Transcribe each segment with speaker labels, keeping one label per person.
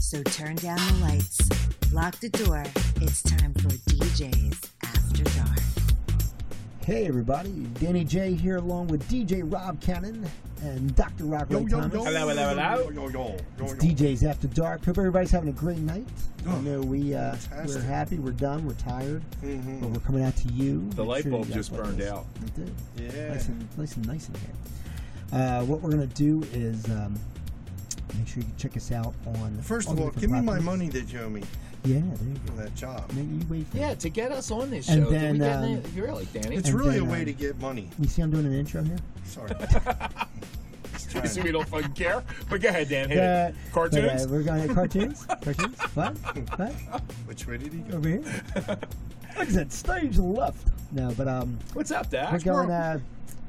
Speaker 1: So turn down the lights, lock the door. It's time for DJ's After Dark.
Speaker 2: Hey everybody, Danny J here along with DJ Rob Cannon and Dr. Rob Ray Thomas.
Speaker 3: Hello, hello, hello.
Speaker 4: Yo, yo, yo, yo,
Speaker 2: It's
Speaker 4: yo.
Speaker 2: DJ's After Dark. Hope everybody's having a great night. I know we uh, we're
Speaker 4: Oh, fantastic. Mm-hmm.
Speaker 2: happy, we're done, we're tired, but we're coming out to you.
Speaker 3: The
Speaker 2: Make
Speaker 3: light
Speaker 2: sure you
Speaker 3: bulb
Speaker 2: got
Speaker 3: just
Speaker 2: what
Speaker 3: burned
Speaker 2: it is.
Speaker 3: out.
Speaker 2: It did.
Speaker 4: Yeah.
Speaker 2: Nice and nice and nice in here. Uh, what we're gonna do is um, make sure you check us out on.
Speaker 4: First
Speaker 2: all
Speaker 4: of
Speaker 2: the
Speaker 4: all, give
Speaker 2: different
Speaker 4: me my
Speaker 2: platforms.
Speaker 4: money that you owe me
Speaker 2: Yeah, there you
Speaker 4: for
Speaker 2: go.
Speaker 4: that job.
Speaker 2: Make you wait for
Speaker 3: Yeah,
Speaker 2: it.
Speaker 3: to get us on this
Speaker 2: And
Speaker 3: show. Did we
Speaker 2: then,
Speaker 3: get
Speaker 2: um,
Speaker 3: any- really, Danny?
Speaker 4: It's
Speaker 2: And
Speaker 4: really a
Speaker 2: then,
Speaker 4: way
Speaker 2: um,
Speaker 4: to get money.
Speaker 2: You see, I'm doing an intro here.
Speaker 4: Sorry. Just trying.
Speaker 3: we don't fucking care. But go ahead, Dan. Hit
Speaker 2: Uh,
Speaker 3: it.
Speaker 2: but, uh,
Speaker 3: Cartoons.
Speaker 2: we're going to cartoons. cartoons. What? What?
Speaker 4: Which way did he go?
Speaker 2: Over here. Look at that stage left. No, but um,
Speaker 3: What's up,
Speaker 2: we're
Speaker 3: Dax?
Speaker 2: going. Uh,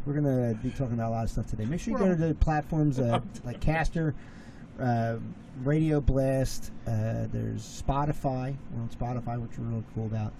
Speaker 2: we're gonna be talking about a lot of stuff today. Make sure you go to the platforms uh, like Caster, uh, Radio Blast. Uh, there's Spotify. We're on Spotify, which we're really cool about.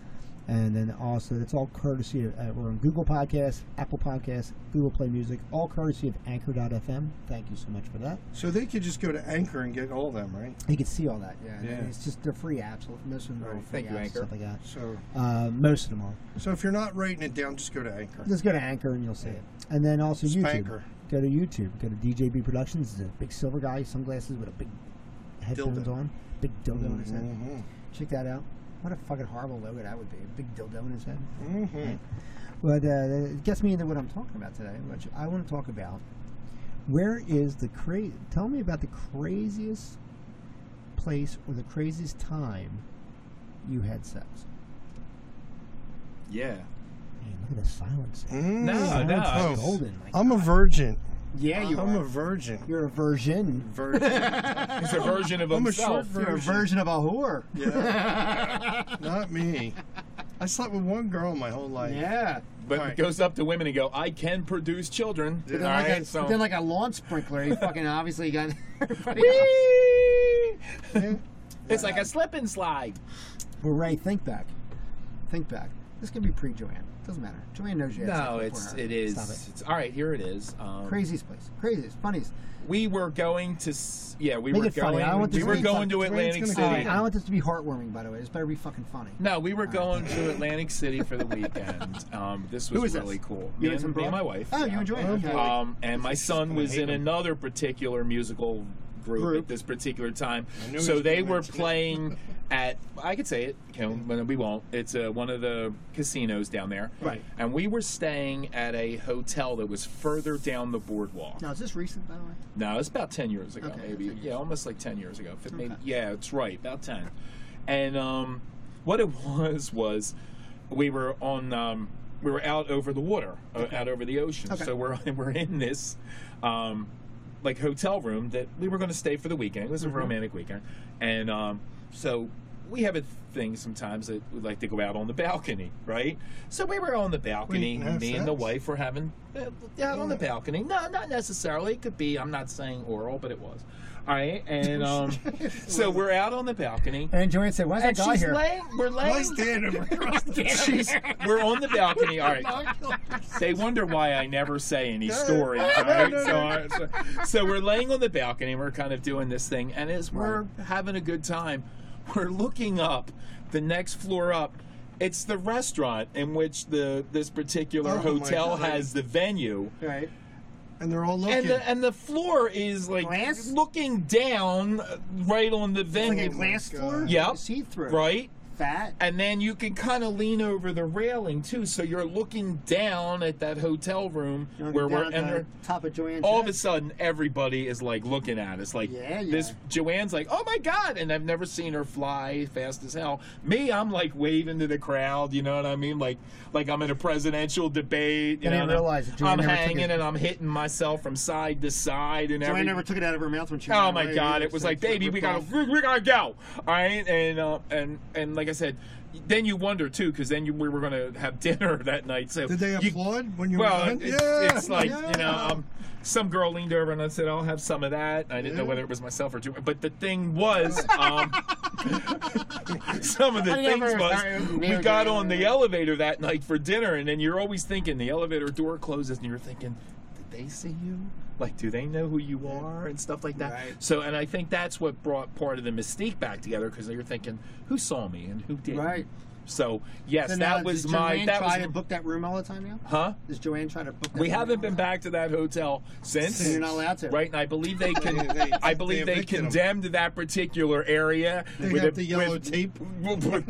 Speaker 2: And then also, it's all courtesy. Of, uh, we're on Google Podcasts, Apple Podcasts, Google Play Music, all courtesy of Anchor.fm. Thank you so much for that.
Speaker 4: So they could just go to Anchor and get all of them, right?
Speaker 2: You can see all that. Yeah,
Speaker 4: Yeah.
Speaker 2: it's just they're free apps. Most of them are all
Speaker 4: Right.
Speaker 2: free
Speaker 3: Oh, Thank you,
Speaker 2: apps,
Speaker 3: Anchor.
Speaker 2: stuff like that.
Speaker 4: So,
Speaker 2: Uh, most of them are.
Speaker 4: so if you're not writing it down, just go to Anchor.
Speaker 2: Just go to Anchor and you'll see it. And then also YouTube.
Speaker 4: Spanker.
Speaker 2: Go to YouTube. Go to DJB Productions. There's a big silver guy, sunglasses with a big headphones
Speaker 4: Dildo.
Speaker 2: on, big dildo on his head.
Speaker 3: Mm-hmm.
Speaker 4: Mhm.
Speaker 2: Check that out. What a fucking horrible logo that would be. A big dildo in his head.
Speaker 4: Mhm.
Speaker 2: But uh, it gets me into what I'm talking about today, which I want to talk about. Where is the crazy? Tell me about the craziest place or the craziest time you had sex.
Speaker 3: Yeah.
Speaker 2: Man, look at the silence.
Speaker 4: Mm.
Speaker 3: No, no.
Speaker 2: Silence is
Speaker 4: Oh.
Speaker 2: golden. Like,
Speaker 4: I'm a virgin.
Speaker 3: Yeah, you
Speaker 4: I'm a
Speaker 3: are.
Speaker 4: virgin.
Speaker 2: you're a virgin.
Speaker 4: Virgin.
Speaker 3: It's a version of
Speaker 4: I'm a
Speaker 3: himself.
Speaker 4: short virgin.
Speaker 2: of a whore.
Speaker 4: Yeah. Not me. I slept with one girl my whole life.
Speaker 2: Yeah.
Speaker 3: but
Speaker 4: Alright.
Speaker 3: goes up to women and go, I can produce children.
Speaker 4: Yeah.
Speaker 3: All
Speaker 2: Like
Speaker 3: right,
Speaker 2: a,
Speaker 3: so.
Speaker 2: Then like a lawn sprinkler, he fucking obviously got. everybody out.
Speaker 3: Whee!
Speaker 4: Yeah.
Speaker 3: it's like a slip and slide.
Speaker 2: Well, Ray, think back. Think back. This could be pre-Joanne. Doesn't matter. Joanne knows you. had
Speaker 3: No,
Speaker 2: sex
Speaker 3: it's
Speaker 2: before
Speaker 3: it
Speaker 2: her.
Speaker 3: is.
Speaker 2: Stop it.
Speaker 3: It's, all right, here it is. Um,
Speaker 2: Craziest place. Craziest. Funniest.
Speaker 3: We were going to, s- yeah, we
Speaker 2: Make
Speaker 3: were
Speaker 2: it funny.
Speaker 3: going.
Speaker 2: I want
Speaker 3: We
Speaker 2: this
Speaker 3: were
Speaker 2: to be
Speaker 3: going
Speaker 4: fun.
Speaker 3: to
Speaker 4: It's where it's
Speaker 3: Atlantic
Speaker 4: gonna
Speaker 3: City.
Speaker 4: be.
Speaker 2: I want this to be heartwarming, by the way. This better be fucking funny.
Speaker 3: No, we were going to Atlantic City for the weekend. Um, this was
Speaker 2: Who is this?
Speaker 3: really cool.
Speaker 2: You
Speaker 3: Me
Speaker 2: and
Speaker 3: and,
Speaker 2: some
Speaker 3: me
Speaker 2: broad?
Speaker 3: and my wife.
Speaker 2: Oh, you enjoy it.
Speaker 4: Oh,
Speaker 2: Okay.
Speaker 4: boy.
Speaker 3: Um, and my son was in another particular musical group,
Speaker 2: Group.
Speaker 3: at this particular time.
Speaker 4: I knew he
Speaker 3: So
Speaker 4: was
Speaker 3: they
Speaker 4: gonna
Speaker 3: were
Speaker 4: mention it.
Speaker 3: playing at I could say it, you know, but we won't. It's uh, one of the casinos down there.
Speaker 2: Right.
Speaker 3: And we were staying at a hotel that was further down the boardwalk.
Speaker 2: Now, is this recent, by the way?
Speaker 3: No, it's about ten years ago,
Speaker 2: Okay,
Speaker 3: maybe.
Speaker 2: 10 years.
Speaker 3: Yeah, almost like ten years ago. Fif- Maybe,
Speaker 2: Okay.
Speaker 3: yeah, it's right, about ten. And um, what it was was we were on um, we were out over the water, o- out over the ocean.
Speaker 2: Okay.
Speaker 3: So we're we're in this um, like hotel room that we were going to stay for the weekend. It was
Speaker 2: Mm-hmm.
Speaker 3: a romantic weekend, and um, so we have a thing sometimes that we like to go out on the balcony, right? So we were on the balcony,
Speaker 4: can have
Speaker 3: me and the
Speaker 4: sex?
Speaker 3: wife were having uh, out on the balcony. No, not necessarily. It could be. I'm not saying oral, but it was. All right, and um, so we're out on the balcony,
Speaker 2: And Joanne said, "Why is that
Speaker 3: and
Speaker 2: guy
Speaker 3: she's
Speaker 2: here?"
Speaker 3: laying. We're
Speaker 4: I
Speaker 3: laying.
Speaker 4: stand across the
Speaker 3: She's, we're on the balcony. All right. They wonder why I never say any stories. all right?
Speaker 4: no,
Speaker 3: So, I- so, so we're laying on the balcony. We're kind of doing this thing, and as we're having a good time, we're looking up the next floor up. It's the restaurant in which the this particular
Speaker 4: Oh, my
Speaker 3: hotel
Speaker 4: God.
Speaker 3: has the venue,
Speaker 2: Right.
Speaker 4: And they're all looking.
Speaker 3: and the, and the floor is like
Speaker 2: Glass?
Speaker 3: looking down uh, right on the
Speaker 2: Like a
Speaker 3: venue.
Speaker 2: glass
Speaker 4: God.
Speaker 2: floor.
Speaker 3: Yep.
Speaker 2: See through.
Speaker 3: right
Speaker 2: Fat.
Speaker 3: and then you can kind of lean over the railing too, so you're looking down at that hotel room where we're
Speaker 2: Down at the
Speaker 3: entering.
Speaker 2: top of Joanne's.
Speaker 3: All of
Speaker 2: head.
Speaker 3: a sudden, everybody is like looking at us, like
Speaker 2: Yeah, yeah.
Speaker 3: this. Joanne's like, "Oh my god!" And I've never seen her fly fast as hell. Me, I'm like waving to the crowd. You know what I mean? Like, like I'm in a presidential debate. You
Speaker 2: I
Speaker 3: know,
Speaker 2: didn't
Speaker 3: and I'm-
Speaker 2: realize that Joanne
Speaker 3: I'm
Speaker 2: never took
Speaker 3: hanging
Speaker 2: it.
Speaker 3: and I'm hitting myself from side to side and
Speaker 2: Joanne
Speaker 3: everything.
Speaker 2: never took it out of her mouth when she.
Speaker 3: Oh
Speaker 2: ran
Speaker 3: my
Speaker 2: away
Speaker 3: god!
Speaker 2: either,
Speaker 3: It was
Speaker 2: so
Speaker 3: like,
Speaker 2: it's a
Speaker 3: baby, we gotta,
Speaker 2: rip-off.
Speaker 3: we we gotta go. All right, and uh, and and like I said, then you wonder too, because then you, we were gonna have dinner that night. So
Speaker 4: Did they
Speaker 3: you-
Speaker 4: applaud when you
Speaker 3: Well,
Speaker 4: were done?
Speaker 3: it- it's like you know, um, some girl leaned over and I said, "I'll have some of that." I didn't know
Speaker 4: Yeah.
Speaker 3: whether it was myself or Joanne, but the thing was, um, some of the
Speaker 2: I
Speaker 3: things
Speaker 2: never- I
Speaker 3: was,
Speaker 2: never
Speaker 3: we
Speaker 2: got
Speaker 3: got
Speaker 2: it.
Speaker 3: on the elevator that night for dinner, and then you're always thinking the elevator door closes, and you're thinking. did they see you? Like, do they know who you are and stuff like that?
Speaker 2: Right.
Speaker 3: So, and I think that's what brought part of the mystique back together because you're thinking, who saw me and who didn't?
Speaker 2: Right.
Speaker 3: So, yes,
Speaker 2: So now,
Speaker 3: that was
Speaker 2: uh, does
Speaker 3: my.
Speaker 2: Joanne
Speaker 3: That
Speaker 2: try
Speaker 3: was,
Speaker 2: to book that room all the time now?
Speaker 3: huh?
Speaker 2: Does Joanne try to book? That
Speaker 3: We
Speaker 2: room
Speaker 3: haven't
Speaker 2: all
Speaker 3: been
Speaker 2: the time?
Speaker 3: back to that hotel since.
Speaker 2: So you're not allowed to.
Speaker 3: Right, and I believe they can.
Speaker 4: They-
Speaker 3: I believe they,
Speaker 4: evicted 'em.
Speaker 3: condemned that particular area
Speaker 4: They
Speaker 3: with,
Speaker 4: got
Speaker 3: a-
Speaker 4: the yellow
Speaker 3: with-
Speaker 4: tape.
Speaker 3: with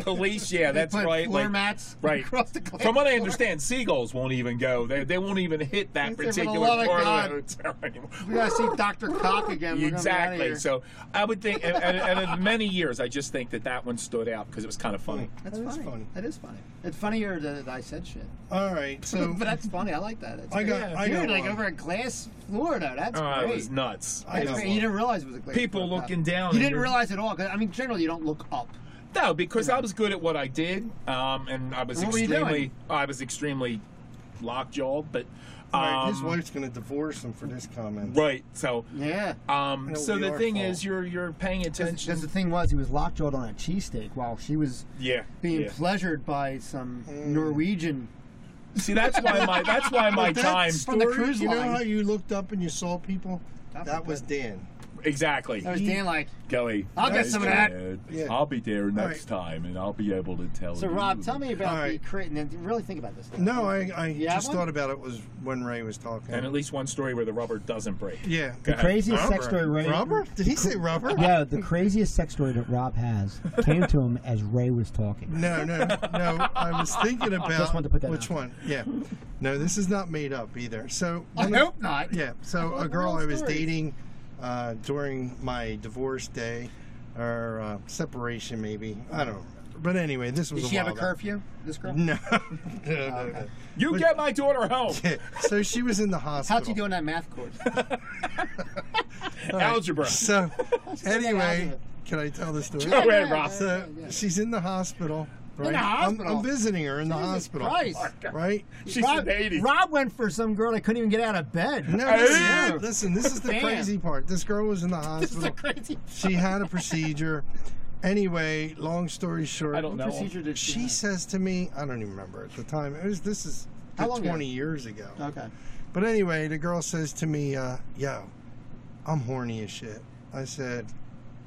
Speaker 3: police. Yeah, that's
Speaker 2: Put
Speaker 3: right.
Speaker 2: Floor
Speaker 3: like-
Speaker 2: mats
Speaker 3: right.
Speaker 2: across the glass
Speaker 3: From what I
Speaker 2: floor.
Speaker 3: understand, seagulls won't even go. They, they won't even hit that
Speaker 2: Except for the
Speaker 3: particular
Speaker 2: love of
Speaker 3: part
Speaker 2: God.
Speaker 3: of the hotel anymore.
Speaker 2: we gotta see Doctor Cock again. We're gonna be outta
Speaker 3: Exactly.
Speaker 2: here.
Speaker 3: So I would think, and, and, and in many years, I just think that that one stood out because it was kind of funny.
Speaker 2: that's
Speaker 4: That is
Speaker 2: funny.
Speaker 4: funny.
Speaker 2: That is funny. It's funnier that I said shit.
Speaker 4: All right, so
Speaker 2: but that's funny. I like that. That's
Speaker 4: I got,
Speaker 2: great.
Speaker 3: Yeah.
Speaker 4: I
Speaker 2: Dude,
Speaker 4: got
Speaker 2: like
Speaker 4: one.
Speaker 2: over at Glass, Florida. That's
Speaker 3: Oh,
Speaker 2: great.
Speaker 3: it was nuts.
Speaker 4: I
Speaker 2: That's
Speaker 4: got
Speaker 2: great.
Speaker 4: one.
Speaker 2: You didn't realize it was a glass.
Speaker 3: People
Speaker 2: floor.
Speaker 3: looking down
Speaker 2: You
Speaker 3: and
Speaker 2: didn't
Speaker 3: you're-
Speaker 2: realize at all. 'cause, I mean, generally you don't look up.
Speaker 3: No, because I was good at what I did, um, and I was
Speaker 2: What were you
Speaker 3: extremely,
Speaker 2: doing?
Speaker 3: I was extremely lockjawed, but
Speaker 4: All
Speaker 3: um,
Speaker 4: right, his wife's gonna divorce him for this comment.
Speaker 3: right. So,
Speaker 2: Yeah.
Speaker 3: um,
Speaker 4: It'll
Speaker 3: so
Speaker 4: be
Speaker 3: the
Speaker 4: our
Speaker 3: thing
Speaker 4: fault.
Speaker 3: is, you're you're paying attention.
Speaker 2: Because the thing was, he was lockjawed on a cheesesteak while she was
Speaker 3: yeah,
Speaker 2: being
Speaker 3: yeah.
Speaker 2: pleasured by some Norwegian.
Speaker 3: See, that's why my that's why my
Speaker 4: That
Speaker 3: time
Speaker 2: from the
Speaker 4: story,
Speaker 2: cruise
Speaker 4: you know
Speaker 2: line.
Speaker 4: how you looked up and you saw people? That was Dan.
Speaker 3: exactly.
Speaker 2: I was Dan like,
Speaker 3: Kelly,
Speaker 2: I'll get
Speaker 3: that
Speaker 2: some
Speaker 3: is
Speaker 2: of that.
Speaker 3: good.
Speaker 4: Yeah.
Speaker 3: I'll be there next
Speaker 4: right.
Speaker 3: time, and I'll be able to tell.
Speaker 2: so
Speaker 3: you.
Speaker 2: Rob, tell me about
Speaker 4: All
Speaker 2: the
Speaker 4: right.
Speaker 2: crit, and then really think about this. Thing.
Speaker 4: No, I, I
Speaker 2: You have
Speaker 4: just
Speaker 2: one?
Speaker 4: thought about it was when Ray was talking.
Speaker 3: And at least one story where the rubber doesn't break.
Speaker 4: yeah.
Speaker 3: Go ahead.
Speaker 5: Craziest sex
Speaker 3: Rubber.
Speaker 5: story, Ray.
Speaker 4: Rubber? Did he say rubber?
Speaker 5: Yeah, the craziest sex story that Rob has came to him as Ray was talking.
Speaker 4: No, no, no. I was thinking about
Speaker 5: wanted to put that
Speaker 4: which
Speaker 5: out.
Speaker 4: one. Yeah. No, this is not made up either. So
Speaker 2: I
Speaker 4: one of-
Speaker 2: hope not.
Speaker 4: Yeah. So a girl
Speaker 2: real
Speaker 4: I was
Speaker 2: story.
Speaker 4: dating uh, during my divorce day, or uh, separation maybe. I don't. remember. But anyway, this was.
Speaker 2: Did she have a
Speaker 4: while back.
Speaker 2: curfew? This girl.
Speaker 4: No. no, no, no.
Speaker 3: You
Speaker 4: But-
Speaker 3: get my daughter home.
Speaker 4: Yeah, So she was in the hospital.
Speaker 2: How'd you do on that math course?
Speaker 3: Algebra.
Speaker 4: So
Speaker 2: idea.
Speaker 4: anyway, can I tell the story?
Speaker 3: Go ahead, Rob.
Speaker 4: So she's in the hospital. Right? I'm- I'm,
Speaker 2: hospital?
Speaker 4: visiting her in the
Speaker 2: Jesus
Speaker 4: hospital.
Speaker 2: Christ.
Speaker 4: Right?
Speaker 3: She's
Speaker 2: Rob,
Speaker 3: sedated.
Speaker 2: Rob went for some girl that couldn't even get out of bed.
Speaker 4: No,
Speaker 3: Hey!
Speaker 4: listen, listen, this is the
Speaker 2: Damn.
Speaker 4: crazy part. This girl was in the
Speaker 2: This is
Speaker 4: hospital.
Speaker 2: a crazy
Speaker 4: she had a procedure. Anyway, long story short,
Speaker 3: I don't know.
Speaker 2: procedure. Did she?
Speaker 4: she
Speaker 2: have?
Speaker 4: says to me, I don't even remember at the time. It was this is
Speaker 2: How long ago?
Speaker 4: 20 years ago.
Speaker 2: Okay.
Speaker 4: But anyway, the girl says to me, uh, "Yo, I'm horny as shit." I said,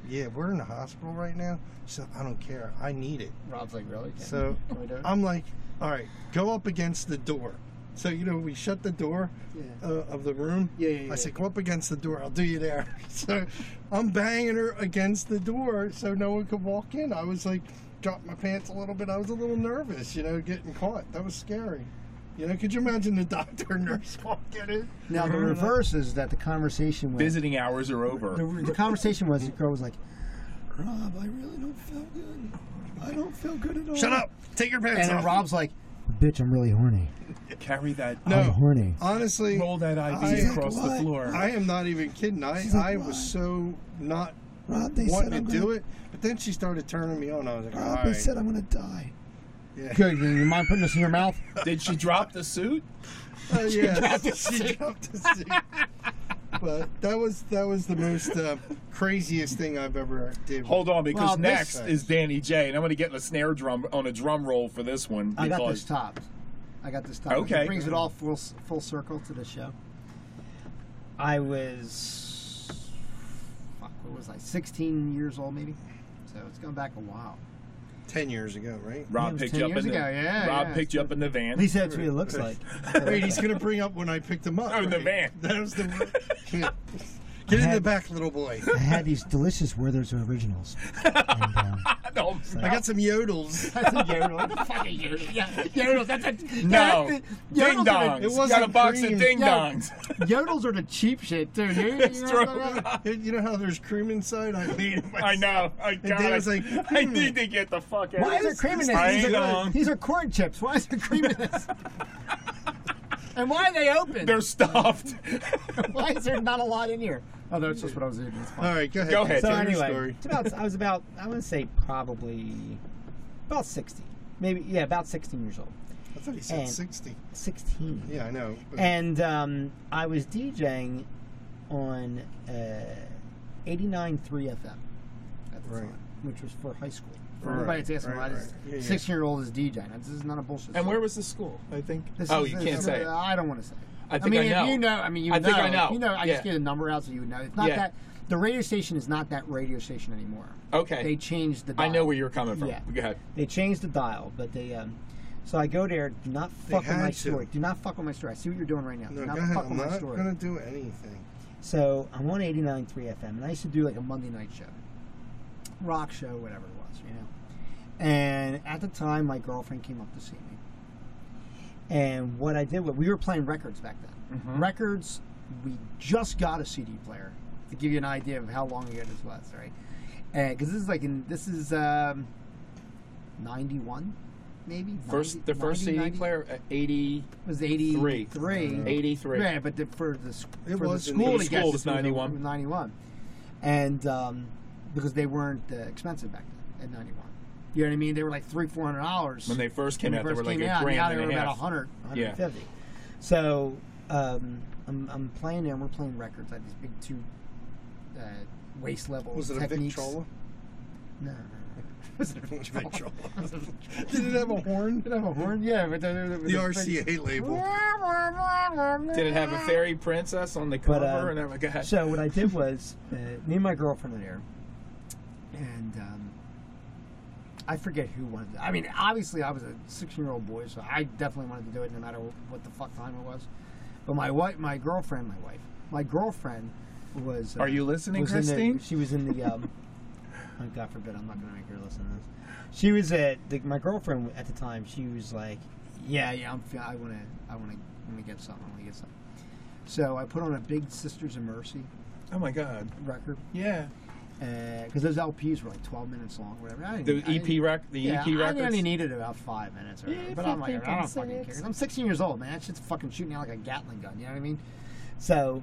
Speaker 4: "Yeah, we're in the hospital right now." She said, "I don't care. I need it."
Speaker 2: Rob's like, really? Okay.
Speaker 4: So um,
Speaker 2: Can we do it?
Speaker 4: I'm like, "All right, go up against the door." So you know, we shut the door
Speaker 2: Yeah.
Speaker 4: uh, of the room.
Speaker 2: Yeah, yeah, yeah.
Speaker 4: I said, "Go up against the door. I'll do you there." So I'm banging her against the door so no one could walk in. I was like, dropped my pants a little bit. I was a little nervous, you know, getting caught. That was scary. You know, could you imagine the doctor and nurse walking in?
Speaker 2: Now the reverse is that the conversation went.
Speaker 3: Visiting hours are
Speaker 2: The,
Speaker 3: over.
Speaker 2: the conversation was the girl was like, Rob, I really don't feel good. I don't feel good at all.
Speaker 4: Shut up! Take your pants
Speaker 2: And then
Speaker 4: off.
Speaker 2: Rob's like,
Speaker 5: Bitch, I'm really horny.
Speaker 3: Carry that.
Speaker 4: No. Uh,
Speaker 5: I'm horny.
Speaker 4: Honestly,
Speaker 3: Roll that IV
Speaker 4: I-
Speaker 3: across the
Speaker 5: What?
Speaker 3: floor.
Speaker 4: I am not even kidding. I,
Speaker 5: like,
Speaker 4: I
Speaker 5: "Why?"
Speaker 4: was so not
Speaker 5: Rob, they
Speaker 4: wanting to do it, but then she started turning me on. I was like, all right.
Speaker 5: I'm gonna die.
Speaker 4: yeah.
Speaker 5: Good. You mind putting this in your mouth?
Speaker 3: Did she drop the suit?
Speaker 4: Uh, yeah, she dropped the seat. But that was that was the most uh, craziest thing I've ever did.
Speaker 3: Hold on, because
Speaker 2: Well,
Speaker 3: next
Speaker 2: this-
Speaker 3: is Danny J, and I'm going to get a snare drum on a drum roll for this one.
Speaker 2: I got
Speaker 3: because-
Speaker 2: this topped. I got this topped.
Speaker 3: Okay.
Speaker 2: It brings it all full full circle to the show. I was, fuck, what was I? 16 years old, maybe. So it's going back a while.
Speaker 4: Ten years ago, right?
Speaker 2: It
Speaker 3: Rob
Speaker 2: was
Speaker 3: picked
Speaker 2: 10
Speaker 3: you up
Speaker 2: years
Speaker 3: in the
Speaker 2: ago, yeah,
Speaker 3: Rob
Speaker 2: yeah.
Speaker 3: picked you up in the van.
Speaker 5: At least that's what it looks like.
Speaker 4: Wait, he's gonna bring up when I picked him up.
Speaker 3: Oh, the
Speaker 4: right?
Speaker 3: van.
Speaker 4: That was the. Yeah. Get in the back, little boy.
Speaker 5: I had these delicious Werther's originals. And, um,
Speaker 3: no,
Speaker 4: I got some yodels.
Speaker 2: That's a Yodel. Fucking Yodel. Yeah, Yodels, that's a,
Speaker 3: no.
Speaker 2: that's the-
Speaker 3: ding
Speaker 2: Yodels are
Speaker 3: dongs.
Speaker 2: the-
Speaker 4: it
Speaker 3: You got
Speaker 4: wasn't
Speaker 3: a box
Speaker 4: cream.
Speaker 3: of ding dongs.
Speaker 2: Yodels are the cheap shit, too. You, you
Speaker 3: It's
Speaker 2: know what I'm
Speaker 3: true.
Speaker 2: talking about?
Speaker 4: You know how there's cream inside? I made it myself.
Speaker 3: I know. I got
Speaker 4: Dan was like,
Speaker 3: I
Speaker 4: hmm.
Speaker 3: need to get the fuck out.
Speaker 2: Why is there
Speaker 3: of
Speaker 2: cream in
Speaker 3: this.
Speaker 2: this?
Speaker 3: Ding
Speaker 2: These are,
Speaker 3: dong.
Speaker 2: these are corn chips. Why is there cream in this? and why are they open?
Speaker 3: They're stuffed.
Speaker 2: why is there not a lot in here? Oh, that's just what I was eating. It's fine.
Speaker 4: All right, go ahead.
Speaker 3: Go ahead.
Speaker 5: so
Speaker 4: Tell your
Speaker 5: anyway,
Speaker 4: story.
Speaker 5: it's about, I was about I want to say probably about sixty, maybe yeah, about sixteen years old.
Speaker 4: I thought he said
Speaker 5: And-
Speaker 4: 60.
Speaker 5: Sixteen.
Speaker 4: Yeah, I know. But
Speaker 5: And um, I was DJing on uh, 89.3 FM at the
Speaker 4: Right.
Speaker 5: time, which was for high school. For
Speaker 4: Right,
Speaker 2: Everybody that's asking
Speaker 4: right,
Speaker 2: why
Speaker 4: right.
Speaker 2: this
Speaker 4: Yeah, yeah.
Speaker 2: six-year-old is DJing. This is not a bullshit.
Speaker 3: and
Speaker 2: story.
Speaker 3: where was the school? I think.
Speaker 2: This
Speaker 3: oh,
Speaker 2: is-
Speaker 3: you
Speaker 2: this
Speaker 3: can't
Speaker 2: is-
Speaker 3: say it.
Speaker 2: I don't want to say. it.
Speaker 3: I think I,
Speaker 2: I mean,
Speaker 3: know.
Speaker 2: if you know, I mean, you
Speaker 3: I
Speaker 2: know,
Speaker 3: think I know.
Speaker 2: You know, I just
Speaker 3: Yeah.
Speaker 2: get a number out so you would know. It's not
Speaker 3: Yeah.
Speaker 2: that the radio station is not that radio station anymore.
Speaker 3: Okay.
Speaker 2: They changed the.
Speaker 3: I
Speaker 2: Dial.
Speaker 3: know where you're coming from.
Speaker 2: Yeah.
Speaker 3: Go ahead.
Speaker 2: They changed the dial, but they. Um, so I go there. Do not fuck with
Speaker 4: had
Speaker 2: my
Speaker 4: to.
Speaker 2: story. Do not fuck with my story. I see what you're doing right now.
Speaker 4: No,
Speaker 2: do
Speaker 4: go
Speaker 2: not
Speaker 4: ahead.
Speaker 2: fuck
Speaker 4: I'm
Speaker 2: with my
Speaker 4: not
Speaker 2: story.
Speaker 4: gonna do anything.
Speaker 2: So I'm on 89.3 FM, and I used to do like a Monday night show, rock show, whatever it was, you know. And at the time, my girlfriend came up to see me. And what I did was, we were playing records back then.
Speaker 3: Mm-hmm.
Speaker 2: Records, we just got a CD player to give you an idea of how long ago this was, right? Because this is like in this is um, 91, maybe
Speaker 3: First,
Speaker 2: 90
Speaker 3: the first
Speaker 2: 90,
Speaker 3: CD player, uh, 80,
Speaker 2: it was 83.
Speaker 3: 83.
Speaker 2: Yeah, but the, for the, s-
Speaker 4: It
Speaker 2: for the
Speaker 4: was in
Speaker 2: school,
Speaker 4: the
Speaker 2: to
Speaker 3: school
Speaker 2: get
Speaker 3: was
Speaker 2: this
Speaker 3: 91.
Speaker 2: 91. And um, because they weren't uh, expensive back then at 91. You know what I mean? They were like three, four hundred dollars
Speaker 3: When they first came out,
Speaker 2: first
Speaker 3: they were like
Speaker 2: came
Speaker 3: a
Speaker 2: out.
Speaker 3: grand
Speaker 2: now
Speaker 3: and
Speaker 2: they
Speaker 3: a
Speaker 2: were about
Speaker 3: half.
Speaker 2: 100,
Speaker 3: Yeah.
Speaker 2: 150. So um, I'm, I'm playing there. and We're playing records. I had these big two uh, waist level
Speaker 4: Was it a
Speaker 2: techniques.
Speaker 4: Victrola?
Speaker 2: No, no, no. Was it a Victrola?
Speaker 4: Did it have a horn?
Speaker 2: Did it have a horn? Yeah, but the,
Speaker 4: The RCA label.
Speaker 3: Did it have a fairy princess on the cover?
Speaker 2: But, um,
Speaker 3: and everything? Go ahead.
Speaker 2: So what I did was, uh, me and my girlfriend were there, and um, I forget who wanted. To, I mean, obviously I was a sixteen-year-old boy, so I definitely wanted to do it, no matter wh- what the fuck time it was. But my wife, my girlfriend, my wife, my girlfriend was. uh,
Speaker 3: Are you listening,
Speaker 2: was in the-
Speaker 3: Christine?
Speaker 2: she was in the. Um, oh, God forbid, I'm not going to make her listen to this. She was at the, my girlfriend at the time. She was like, "Yeah, yeah, I'm. fe- I want to. I want to. Let me get something. I want to get something." So I put on a big Sisters of Mercy
Speaker 3: oh my God!
Speaker 2: record
Speaker 3: Yeah,
Speaker 2: because those LPs were like 12 minutes long, whatever. I
Speaker 3: the E
Speaker 2: didn't- I
Speaker 3: EP
Speaker 2: didn't-
Speaker 3: rec, the
Speaker 2: yeah,
Speaker 3: EP
Speaker 2: I
Speaker 3: records.
Speaker 2: only needed about five minutes, or whatever,
Speaker 3: Yeah,
Speaker 2: but I'm like,
Speaker 3: fucking
Speaker 2: I don't fucking
Speaker 3: six.
Speaker 2: care. I'm 16 years old, man. That shit's fucking shooting out like a Gatling gun. You know what I mean? So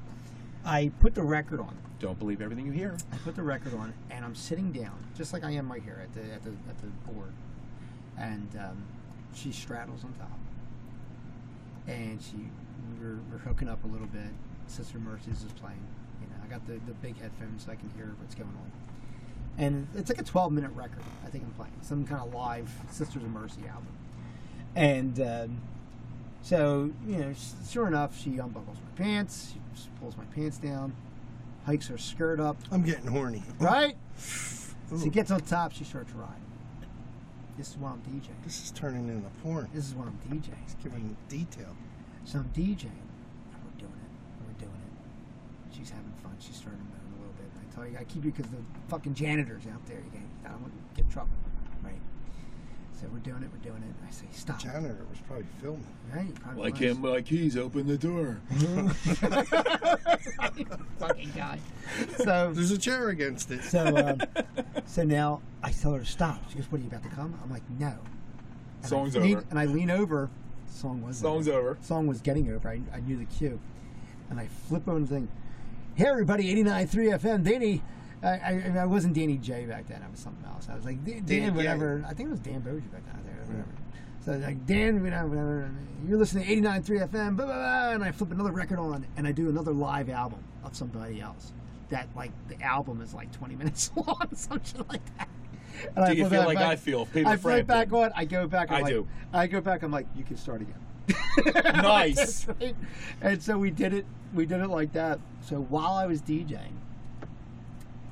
Speaker 2: I put the record on.
Speaker 3: Don't believe everything you hear.
Speaker 2: I put the record on, and I'm sitting down, just like I am right here at the at the at the board, and um, she straddles on top, and she we're, we're hooking up a little bit. Sister Mercy's is playing. You know, I got the the big headphones so I can hear what's going on, and it's like a 12 minute record. I think I'm playing some kind of live Sisters of Mercy album, and. Um, so, you know, s- sure enough, she unbuckles my pants, she s- pulls my pants down, hikes her skirt up,
Speaker 4: I'm getting horny.
Speaker 2: right? She
Speaker 4: Ooh,
Speaker 2: gets on top, she starts riding. This is why I'm DJing.
Speaker 4: this is turning into porn.
Speaker 2: This is why I'm DJing.
Speaker 4: It's giving detail.
Speaker 2: So I'm DJing, and we're doing it. We're doing it. She's having fun. She's starting to move a little bit. And I tell you, I keep you because the fucking janitors out there. You can't- I don't want to get in trouble, right? So we're doing it. We're doing it. And I say stop.
Speaker 4: Janitor was probably filming.
Speaker 2: Right? You probably
Speaker 3: Like
Speaker 2: was.
Speaker 3: him, like he's open the door.
Speaker 2: fucking guy. So
Speaker 4: There's a chair against it.
Speaker 2: so um, so now I tell her to stop. She goes, "What are you about to come?" I'm like, "No." And I
Speaker 3: Song's
Speaker 2: lean-
Speaker 3: over.
Speaker 2: And I lean over. Song was
Speaker 3: Song's over.
Speaker 2: song was getting over. I, I knew the cue. And I flip over and think, hey, everybody, 89.3 FM, Danny. I, I, I wasn't Danny J back then. I was something else. I was like, Dan,
Speaker 4: Danny
Speaker 2: Dan
Speaker 4: J.
Speaker 2: whatever. I think it was Dan Boji back then. Or whatever.
Speaker 3: Mm-hmm.
Speaker 2: So I was like, Dan, you know, whatever. You're listening to 89.3 FM, blah, blah, blah. And I flip another record on and I do another live album of somebody else. That, like, the album is like 20 minutes long, some shit like that. And
Speaker 3: Do you
Speaker 2: flip
Speaker 3: feel
Speaker 2: that
Speaker 3: like
Speaker 2: back-
Speaker 3: I feel, Peter
Speaker 2: I flip
Speaker 3: Frampton?
Speaker 2: back on. I go back. I'm
Speaker 3: I
Speaker 2: like-
Speaker 3: do.
Speaker 2: I go back. I'm like, you can start again.
Speaker 3: Nice.
Speaker 2: Right? and so we did it we did it like that so while i was djing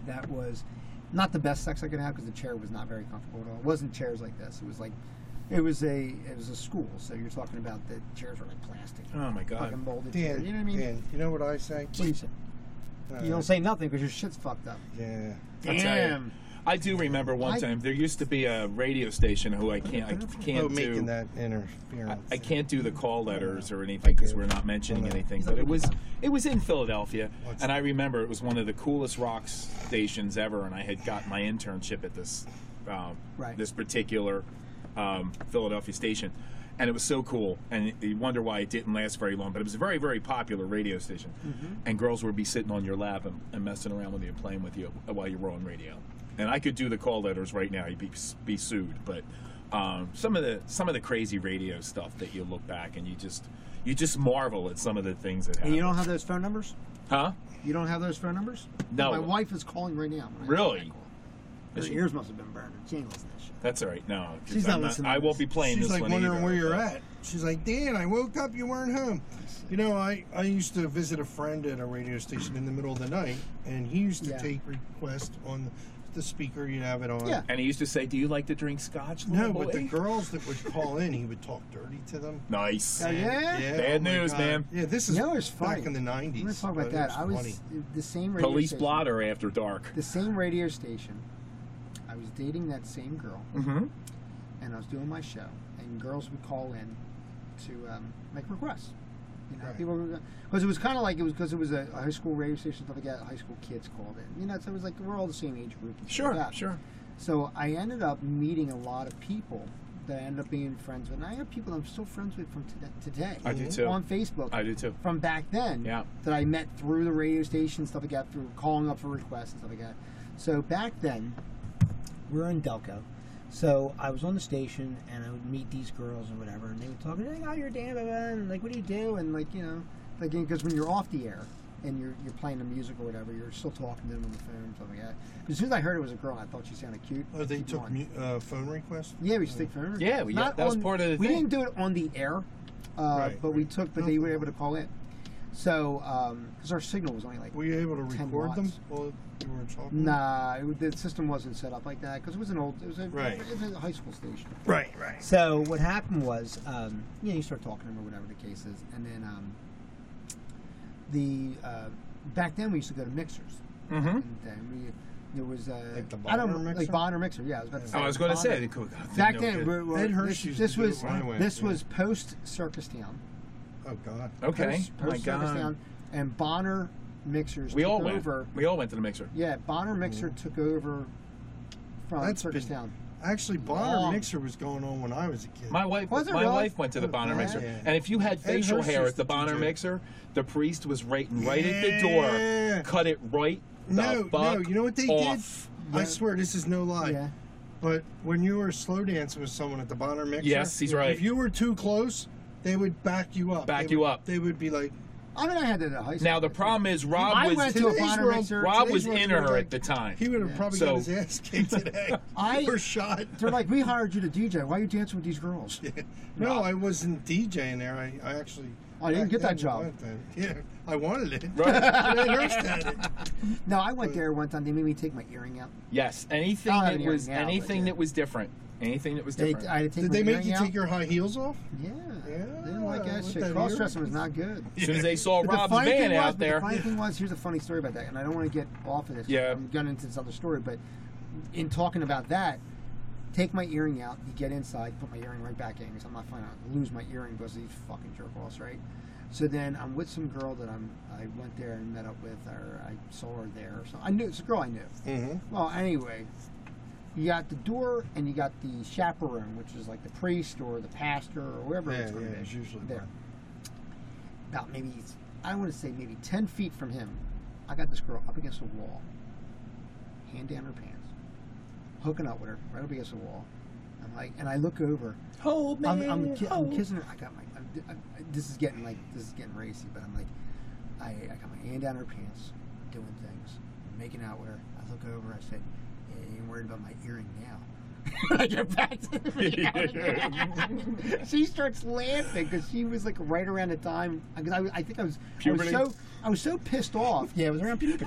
Speaker 2: that was not the best sex i could have because the chair was not very comfortable at all it wasn't chairs like this it was like it was a it was a school so you're talking about the chairs were like plastic
Speaker 3: Oh my God!
Speaker 2: fucking molded chair,
Speaker 4: Dan,
Speaker 2: you know what i mean
Speaker 4: Dan, you know what I say?
Speaker 2: What do you say?
Speaker 4: Uh,
Speaker 2: you don't say nothing because your shit's fucked up
Speaker 4: Yeah.
Speaker 3: I'll tell you. I do remember one
Speaker 2: I-
Speaker 3: time there used to be a radio station who I can't, I
Speaker 4: Oh,
Speaker 3: can't do.
Speaker 4: making that interference.
Speaker 3: I can't do the call letters or anything because we're not mentioning anything. But it was it was in Philadelphia, and I remember it was one of the coolest rock stations ever. And I had got my internship at this um,
Speaker 2: Right.
Speaker 3: this particular um, Philadelphia station, and it was so cool. And you wonder why it didn't last very long. But it was a very very popular radio station,
Speaker 4: Mm-hmm.
Speaker 3: and girls would be sitting on your lap and, and messing around with you and playing with you while you were on radio. And I could do the call letters right now. You'd be, be sued, but. Um, some of the some of the crazy radio stuff that you look back and you just you just marvel at some of the things that happen.
Speaker 2: and you don't have those phone numbers
Speaker 3: huh?
Speaker 2: you don't have those phone numbers
Speaker 3: No.
Speaker 2: my wife is calling right now When I-
Speaker 3: Really?
Speaker 2: Her ears must have been burned. Her jingles and that shit.
Speaker 3: That's all right. No, 'cause
Speaker 2: She's not
Speaker 3: I'm
Speaker 2: listening
Speaker 3: I
Speaker 2: to
Speaker 3: won't
Speaker 2: this.
Speaker 3: be playing
Speaker 4: She's
Speaker 3: this
Speaker 4: like
Speaker 3: one
Speaker 4: wondering
Speaker 3: either,
Speaker 4: where you're
Speaker 3: but-
Speaker 4: at. She's like, Dan, I woke up, you weren't home. You know, I, I used to visit a friend at a radio station in the middle of the night, and he used to
Speaker 2: Yeah.
Speaker 4: take requests on the speaker you'd have it on.
Speaker 2: Yeah. Oh,
Speaker 3: And he used to say, "Do you like to drink scotch?"
Speaker 4: No,
Speaker 3: little
Speaker 4: but the
Speaker 3: boy?"
Speaker 4: girls that would call in, he would talk dirty to them.
Speaker 3: Nice.
Speaker 2: Oh, yeah?
Speaker 3: Bad
Speaker 4: my
Speaker 3: news,
Speaker 4: God.
Speaker 3: man.
Speaker 4: Yeah, this is
Speaker 2: You know, it's funny.
Speaker 4: back in the 90s.
Speaker 2: We're gonna talk about
Speaker 4: but
Speaker 2: that.
Speaker 4: it's
Speaker 2: I was
Speaker 4: funny.
Speaker 2: the same radio
Speaker 3: Police
Speaker 2: station,
Speaker 3: blotter after dark.
Speaker 2: The same radio station. I was dating that same girl,
Speaker 3: Mm-hmm.
Speaker 2: and I was doing my show, and girls would call in to um, make requests. You know,
Speaker 4: Right.
Speaker 2: people because it was kind of like it was because it was a, a high school radio station stuff like that. High school kids called in. You know, so it was like we're all the same age group. and shit
Speaker 3: Sure,
Speaker 2: like that.
Speaker 3: sure.
Speaker 2: So I ended up meeting a lot of people that I ended up being friends with. And I have people I'm still friends with from to- today.
Speaker 3: I
Speaker 4: Mm-hmm.
Speaker 3: do too.
Speaker 2: On Facebook.
Speaker 3: I do too.
Speaker 2: from back then
Speaker 3: Yeah.
Speaker 2: that I met through the radio station, stuff like that, through calling up for requests and stuff like that. So back then, we were in Delco. So I was on the station and I would meet these girls and whatever, and they would talk, like, oh, you're Dan, blah, blah, blah," and like, what do you do? And like, you know, like, because when you're off the air and you're, you're playing the music or whatever, you're still talking to them on the phone and stuff like that. 'Cause as soon as I heard it was a girl, I thought she sounded cute.
Speaker 4: Oh, they
Speaker 2: Keep
Speaker 4: took
Speaker 2: going.
Speaker 4: mu- uh, phone requests?
Speaker 2: Yeah, we stick phone.
Speaker 3: Yeah, we-
Speaker 2: Not
Speaker 3: that was
Speaker 2: on-
Speaker 3: part of the
Speaker 2: We
Speaker 3: thing.
Speaker 2: didn't do it on the air, uh,
Speaker 4: Right,
Speaker 2: but we
Speaker 4: right.
Speaker 2: took. But they were able to call in. So, because our signal was only like,
Speaker 4: Were you able to
Speaker 2: 10
Speaker 4: record them
Speaker 2: watts.
Speaker 4: while you were talking?
Speaker 2: nah, it, the system wasn't set up like that because it was an old, it was a,
Speaker 4: Right.
Speaker 2: it was a high school station.
Speaker 4: Right, right.
Speaker 2: So what happened was, um, you know, you start talking to them or whatever the case is, and then um, the uh, back then we used to go to mixers,
Speaker 3: Mm-hmm.
Speaker 2: and then we there was uh,
Speaker 4: Like the
Speaker 2: I don't
Speaker 4: Bonner
Speaker 2: like
Speaker 4: mixer?
Speaker 2: Bonner mixer. Yeah, I was about to say.
Speaker 3: Oh, I was going to
Speaker 2: Bonner.
Speaker 3: say. they could- God,
Speaker 2: Back
Speaker 3: no
Speaker 2: then,
Speaker 3: good.
Speaker 2: we're, we're,
Speaker 4: Ed Hirsch
Speaker 2: this,
Speaker 4: used
Speaker 2: this
Speaker 4: to do it
Speaker 2: was
Speaker 4: when I went,
Speaker 2: this
Speaker 4: yeah.
Speaker 2: was post Circus Town.
Speaker 4: Oh, God.
Speaker 3: Okay.
Speaker 2: Post,
Speaker 3: Oh my
Speaker 2: post Circus
Speaker 3: God.
Speaker 2: Town, and Bonner Mixers
Speaker 3: We
Speaker 2: took
Speaker 3: all went.
Speaker 2: over.
Speaker 3: We all went to the mixer.
Speaker 2: Yeah, Bonner Mixer took over from
Speaker 4: That's
Speaker 2: Circus
Speaker 4: been-
Speaker 2: Town.
Speaker 4: Actually, Bonner
Speaker 2: Long.
Speaker 4: Mixer was going on when I was a kid.
Speaker 3: My wife,
Speaker 2: Was it
Speaker 3: my
Speaker 2: really?
Speaker 3: wife went to the Bonner
Speaker 2: yeah.
Speaker 3: Mixer, and if you had facial
Speaker 4: Hirsch
Speaker 3: hair
Speaker 4: used
Speaker 3: at the
Speaker 4: to
Speaker 3: Bonner
Speaker 4: DJ.
Speaker 3: Mixer, the priest was right right at the door,
Speaker 4: Yeah.
Speaker 3: cut it right. The
Speaker 4: no, no.
Speaker 3: fuck
Speaker 4: You know what they
Speaker 3: off.
Speaker 4: did? I swear this is no lie.
Speaker 2: Yeah.
Speaker 4: But when you were slow dancing with someone at the Bonner Mixer,
Speaker 3: Yes, he's right.
Speaker 4: If you were too close, they would back you up.
Speaker 3: Back
Speaker 4: They
Speaker 3: you
Speaker 4: would-
Speaker 3: up.
Speaker 4: They would be like,
Speaker 2: I mean, I had that at high school.
Speaker 3: Now the problem is Rob
Speaker 2: I
Speaker 3: was
Speaker 2: went to a
Speaker 4: Today's
Speaker 2: Bonner
Speaker 4: world-
Speaker 2: Mixer.
Speaker 3: Rob
Speaker 4: Today's
Speaker 3: was
Speaker 4: ones
Speaker 3: in
Speaker 4: were
Speaker 3: her
Speaker 4: like-
Speaker 3: at the time.
Speaker 4: he would have probably
Speaker 3: So-
Speaker 4: got his ass kicked today.
Speaker 2: I-
Speaker 4: or shot.
Speaker 2: They're like, we hired you to DJ. Why are you dancing with these girls?
Speaker 4: No, I wasn't DJing there. I, I actually.
Speaker 2: I Oh, didn't
Speaker 4: back
Speaker 2: get that
Speaker 4: then,
Speaker 2: job.
Speaker 4: I went then. Yeah, I wanted it.
Speaker 3: Right.
Speaker 4: I nursed at it.
Speaker 2: No, I went there one time. They made me take my earring out.
Speaker 3: Yes. Anything
Speaker 2: Not
Speaker 3: that
Speaker 2: anywhere
Speaker 3: was
Speaker 2: now, but
Speaker 3: anything
Speaker 2: yeah.
Speaker 3: that was different. Anything that was
Speaker 2: They,
Speaker 3: different.
Speaker 2: I had to take
Speaker 4: Did
Speaker 2: my
Speaker 4: they make
Speaker 2: earring
Speaker 4: you
Speaker 2: out.
Speaker 4: take your high heels off?
Speaker 2: Yeah.
Speaker 4: Yeah,
Speaker 2: They didn't like that
Speaker 4: with
Speaker 2: shit.
Speaker 4: that
Speaker 2: Cross dressing
Speaker 4: earring.
Speaker 2: was not good.
Speaker 3: as soon as they saw
Speaker 2: But
Speaker 3: Rob's
Speaker 2: funny
Speaker 3: van
Speaker 2: thing was-
Speaker 3: out
Speaker 2: but
Speaker 3: there,
Speaker 2: The funny thing was, here's a funny story about that, and I don't want to get off of this.
Speaker 3: Yeah.
Speaker 2: I'm going into this other story, but in talking about that, take my earring out, you get inside, put my earring right back in, because I'm not fine. I lose my earring because of these fucking jerk offs, right? So then I'm with some girl that I'm I went there and met up with, or I saw her there, or something. I knew it's a girl I knew.
Speaker 3: Mm-hmm.
Speaker 4: Mhm.
Speaker 2: Well, anyway, you got the door and you got the chaperone, which is like the priest or the pastor or whoever
Speaker 4: Yeah,
Speaker 2: it's going to
Speaker 4: yeah,
Speaker 2: be.
Speaker 4: it's usually
Speaker 2: there.
Speaker 4: mine.
Speaker 2: About maybe, I want to say maybe 10 feet from him, I got this girl up against the wall, hand down her pants, hooking up with her right up against the wall. I'm like, and I look over.
Speaker 3: hold me.
Speaker 2: I'm, I'm, ki- I'm
Speaker 3: hold.
Speaker 2: kissing her. I got my. I'm, I, this is getting like this is getting racy, but I'm like, I, I got my hand down her pants, doing things, making out with her. I look over. I said, "You ain't worried about my earring now." I get back to the reality. she starts laughing because she was like right around the time. Because I, was- I think I was, I was
Speaker 3: Puberty?
Speaker 2: so I was so pissed off. Yeah, it was around puberty.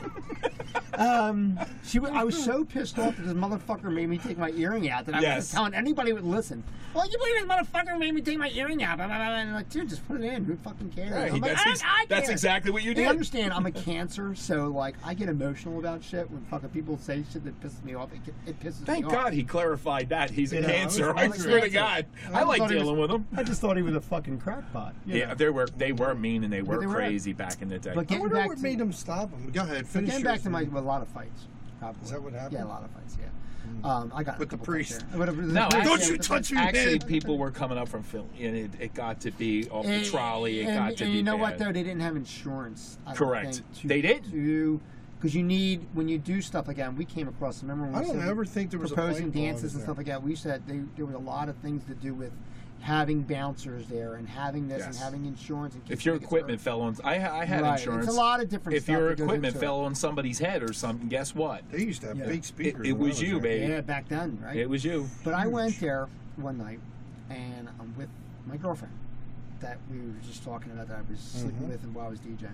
Speaker 2: um, she wa- I was so pissed off that this motherfucker made me take my earring out that I
Speaker 3: Yes.
Speaker 2: was telling anybody would listen. Well, you believe this motherfucker made me take my earring out? Blah, blah, blah. And I'm like, dude, just put it in. Who fucking cares?
Speaker 3: Right,
Speaker 2: I'm like,
Speaker 3: that's
Speaker 2: I,
Speaker 3: ex-
Speaker 2: I
Speaker 3: that's
Speaker 2: care.
Speaker 3: exactly what you
Speaker 2: They
Speaker 3: did.
Speaker 2: understand I'm a cancer, so like I get emotional about shit when fucking people say shit that pisses me off. It, get- it pisses me
Speaker 3: Thank
Speaker 2: off.
Speaker 3: God he clarified that. He's a
Speaker 5: Yeah, I was
Speaker 3: cancer. I,
Speaker 5: wondering.
Speaker 3: swear to God. I, like
Speaker 5: thought he was-
Speaker 3: dealing with him.
Speaker 5: I just thought he was a fucking crackpot. you
Speaker 3: Yeah,
Speaker 5: know.
Speaker 3: they were they were mean and they were
Speaker 2: they were.
Speaker 3: crazy back in the day.
Speaker 2: But
Speaker 4: I
Speaker 2: getting
Speaker 4: wonder
Speaker 2: back
Speaker 4: what
Speaker 2: to-
Speaker 4: made him stop him. Go ahead,
Speaker 2: But
Speaker 4: finish.
Speaker 2: getting back
Speaker 4: yours.
Speaker 2: to my a lot of fights. Probably.
Speaker 4: Is that what happened? Hmm.
Speaker 2: Yeah, a lot of fights. Yeah. Um, I got in a
Speaker 4: With the
Speaker 2: couple fights
Speaker 4: priest.
Speaker 2: there. But it was-
Speaker 3: no,
Speaker 2: Yeah,
Speaker 4: Don't
Speaker 3: actually-
Speaker 4: you
Speaker 2: but-
Speaker 4: touch me,
Speaker 3: Actually,
Speaker 4: man.
Speaker 3: people were coming up from Philly, and it, it got to be off the
Speaker 2: And-
Speaker 3: trolley. It
Speaker 2: and,
Speaker 3: got to
Speaker 2: and
Speaker 3: be
Speaker 2: you know what
Speaker 3: bad.
Speaker 2: though? They didn't have insurance. I don't
Speaker 3: Correct.
Speaker 2: think, to-
Speaker 3: They didn't.
Speaker 2: to- Cause you need when you do stuff like that. And we came across. Remember when
Speaker 4: I
Speaker 2: we
Speaker 4: don't
Speaker 2: said we
Speaker 4: ever think there was a
Speaker 2: proposing
Speaker 4: fight while I
Speaker 2: dances
Speaker 4: was
Speaker 2: and stuff
Speaker 4: there.
Speaker 2: like that. We said they, there was a lot of things to do with having bouncers there and having this and
Speaker 3: Yes.
Speaker 2: having insurance. And
Speaker 3: If
Speaker 2: keeping
Speaker 3: your
Speaker 2: tickets
Speaker 3: equipment
Speaker 2: early.
Speaker 3: fell on, I, ha- I had
Speaker 2: Right, it's
Speaker 3: insurance.
Speaker 2: a lot of different
Speaker 3: If
Speaker 2: stuff
Speaker 3: your
Speaker 2: that goes
Speaker 3: equipment
Speaker 2: into it.
Speaker 3: fell on somebody's head or something, guess what?
Speaker 4: They used to have
Speaker 2: Yeah.
Speaker 4: big
Speaker 3: It,
Speaker 4: speakers.
Speaker 3: it
Speaker 4: when I
Speaker 3: was you,
Speaker 4: there.
Speaker 3: baby.
Speaker 2: yeah, back then, right?
Speaker 3: It was you.
Speaker 2: But I went there one night, and I'm with my girlfriend that we were just talking about that I was sleeping
Speaker 4: Mhm.
Speaker 2: with and while I was DJing.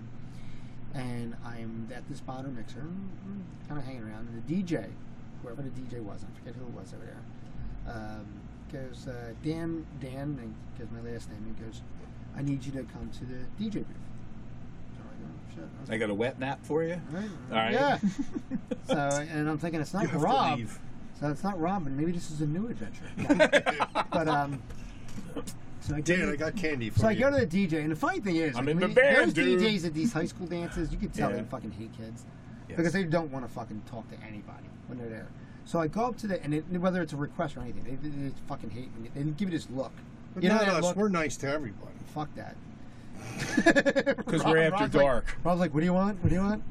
Speaker 2: And I'm at this Bonner mixer, kind of hanging around, and the DJ, whoever the DJ was, I forget who it was over there, um, goes, uh, Dan, Dan, and gives my last name, he goes, I need you to come to the DJ booth. So I go, "Shit." I was
Speaker 3: I got a wet nap for you.
Speaker 2: like,
Speaker 3: All right.
Speaker 2: Yeah. so, and I'm thinking, it's
Speaker 4: You
Speaker 2: not
Speaker 4: have to
Speaker 2: Rob.
Speaker 4: leave.
Speaker 2: So it's not Robin. Maybe this is a new adventure. but um, so I go,
Speaker 4: Dan,
Speaker 2: to-
Speaker 4: I got candy for
Speaker 2: so I
Speaker 4: you.
Speaker 2: go to the DJ, and the funny thing is,
Speaker 3: I'm
Speaker 2: like,
Speaker 3: in the
Speaker 2: when
Speaker 3: band,
Speaker 2: those
Speaker 3: dude.
Speaker 2: DJs at these high school dances, you can tell
Speaker 3: Yeah.
Speaker 2: they fucking hate kids
Speaker 3: Yes.
Speaker 2: because they don't want to fucking talk to anybody when they're there. So I go up to the and it, whether it's a request or anything, they, they, they fucking hate me. They give you this look.
Speaker 4: But
Speaker 2: You know
Speaker 4: not
Speaker 2: that
Speaker 4: us.
Speaker 2: look-
Speaker 4: We're nice to everybody.
Speaker 2: Fuck that.
Speaker 3: 'Cause we're after
Speaker 2: Rob's
Speaker 3: dark.
Speaker 2: Like, Rob's like, "What do you want? What do you want?"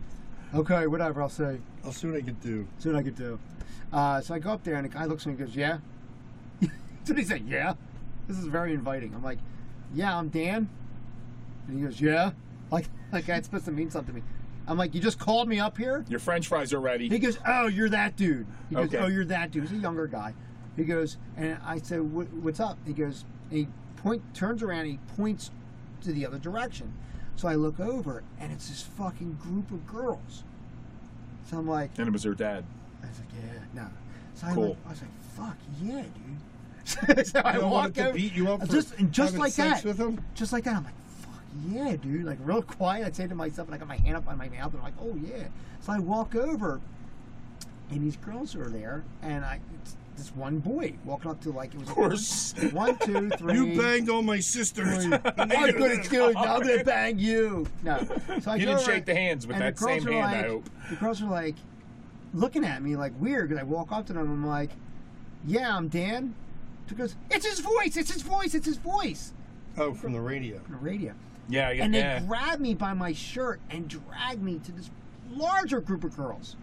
Speaker 2: Okay, whatever. I'll say.
Speaker 4: I'll see what I can do.
Speaker 2: See what I could do. Uh, so I go up there and the guy looks at me and goes, Yeah. so he said, Yeah. This is very inviting. I'm like, Yeah, I'm Dan. And he goes, Yeah. Like like that's supposed to mean something to me. I'm like, You just called me up here?
Speaker 3: Your French fries are
Speaker 2: He
Speaker 3: ready.
Speaker 2: goes, Oh, you're that dude. He goes,
Speaker 3: Okay.
Speaker 2: Oh, you're that dude. He's a younger guy. He goes, and I said, "What- What's up? He goes, and he point turns around and he points to the other direction. So I look over and it's this fucking group of girls. So I'm like,
Speaker 3: And it was her dad.
Speaker 2: I was like, yeah, no. So I,
Speaker 3: Cool.
Speaker 2: went, I was like, fuck yeah, dude. so I
Speaker 4: You don't want
Speaker 2: walk
Speaker 4: to
Speaker 2: out,
Speaker 4: beat you up for
Speaker 2: just and just
Speaker 4: having
Speaker 2: like
Speaker 4: sex
Speaker 2: that,
Speaker 4: with him?
Speaker 2: just like that. I'm like, fuck yeah, dude. Like real quiet. I say to myself, and I got my hand up on my mouth, and I'm like, oh yeah. So I walk over, and these girls are there, and I it's this one boy walking up to like it was
Speaker 3: Of course.
Speaker 2: one, two, three.
Speaker 4: You banged on my sisters.
Speaker 2: I'm gonna kill you. I'm gonna bang you. No. So I
Speaker 3: You
Speaker 2: go
Speaker 3: didn't
Speaker 2: over-
Speaker 3: shake the hands with
Speaker 2: and
Speaker 3: that
Speaker 2: the girls
Speaker 3: same
Speaker 2: are
Speaker 3: hand,
Speaker 2: like-
Speaker 3: I hope.
Speaker 2: The girls are like looking at me like weird because I walk up to them and I'm like, yeah, I'm Dan. She goes, it's his voice, it's his voice, it's his voice.
Speaker 4: oh, from the radio.
Speaker 2: On the radio.
Speaker 3: Yeah, yeah,
Speaker 2: And they
Speaker 3: yeah.
Speaker 2: grab me by my shirt and drag me to this larger group of girls.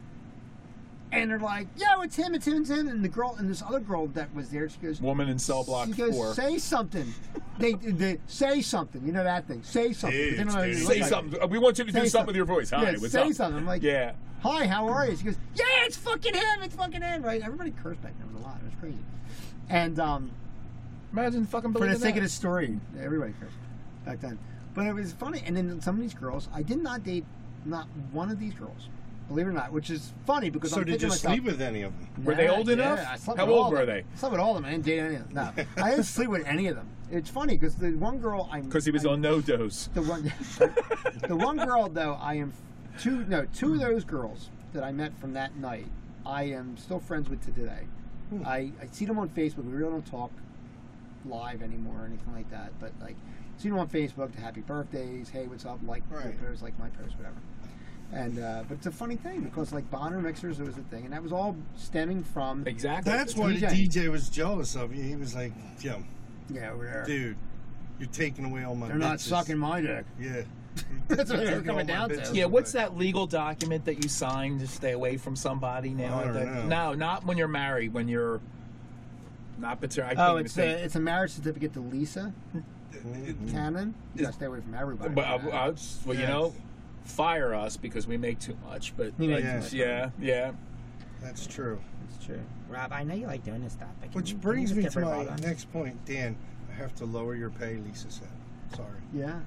Speaker 2: And they're like, yo, it's him, it's him, it's him. And the girl, and this other girl that was there, she goes,
Speaker 3: Woman in cell block
Speaker 2: she goes,
Speaker 3: four.
Speaker 2: say something. they, they say something. You know that thing. Say something. But they don't know what
Speaker 4: Dude,
Speaker 2: it
Speaker 4: dude.
Speaker 2: looks
Speaker 3: Say
Speaker 2: like.
Speaker 3: something. Uh, We want you to do
Speaker 2: Say
Speaker 3: something with your voice. Hi,
Speaker 2: yeah,
Speaker 3: what's
Speaker 2: say
Speaker 3: up?
Speaker 2: something. I'm like,
Speaker 3: Yeah.
Speaker 2: hi, how are you? She goes, yeah, it's fucking him, it's fucking him, right? Everybody cursed back then it was a lot. It was crazy. And um,
Speaker 3: Imagine fucking
Speaker 2: for the
Speaker 3: believing
Speaker 2: sake of
Speaker 3: that.
Speaker 2: the story, everybody cursed back then. But it was funny. And then some of these girls, I did not date not one of these girls, believe it or not, which is funny because
Speaker 4: So
Speaker 2: I'm
Speaker 4: did
Speaker 2: thinking
Speaker 4: you
Speaker 2: to myself,
Speaker 4: sleep with any of them?
Speaker 3: Were they
Speaker 2: Nah,
Speaker 3: old
Speaker 2: yeah,
Speaker 3: enough?
Speaker 2: I slept
Speaker 3: How
Speaker 2: with all
Speaker 3: old
Speaker 2: of
Speaker 3: were
Speaker 2: them.
Speaker 3: they?
Speaker 2: I slept with all of them. I didn't date any of them. No, I didn't sleep with any of them. It's funny because the one girl I
Speaker 3: Because he was on no dose.
Speaker 2: the one, the one girl though, I am two. No, two of those girls that I met from that night, I am still friends with to today. I, I see them on Facebook. We really don't talk live anymore or anything like that. But like, see them on Facebook. The happy birthdays. Hey, what's up? Like your
Speaker 4: Right.
Speaker 2: post, like my post, whatever. And uh, but it's a funny thing because like Bonner mixers, it was a thing, and that was all stemming from
Speaker 3: Exactly.
Speaker 4: That's why the
Speaker 2: DJ.
Speaker 4: DJ was jealous of you. He was like, "Yo,
Speaker 2: yeah, over there.
Speaker 4: dude, you're taking away all my."
Speaker 2: They're not
Speaker 4: bitches."
Speaker 2: sucking my dick.
Speaker 4: Yeah.
Speaker 2: That's what it's
Speaker 4: You're taking all
Speaker 2: coming
Speaker 4: my
Speaker 2: down to.
Speaker 4: bitches
Speaker 3: Yeah, what's
Speaker 4: away.
Speaker 3: that legal document that you sign to stay away from somebody now?
Speaker 4: I don't know.
Speaker 3: No, not when you're married. When you're not pater- I can't
Speaker 2: Oh,
Speaker 3: even
Speaker 2: it's
Speaker 3: think.
Speaker 2: a it's a marriage certificate to Lisa.
Speaker 4: Mm-hmm.
Speaker 2: Canon, you gotta stay away from everybody.
Speaker 3: But
Speaker 2: man.
Speaker 3: uh, uh, s- well, you know, fire us because we make too much. But
Speaker 2: You make
Speaker 3: like,
Speaker 4: too much.
Speaker 3: yeah, yeah.
Speaker 4: That's true.
Speaker 5: It's true. Rob, I know you like doing this stuff. but can you-
Speaker 4: Which
Speaker 5: can
Speaker 4: brings
Speaker 5: you
Speaker 4: me
Speaker 5: just
Speaker 4: to
Speaker 5: get rid of
Speaker 4: my
Speaker 5: all that?
Speaker 4: next point, Dan. I have to lower your pay, Lisa said. Sorry.
Speaker 2: yeah,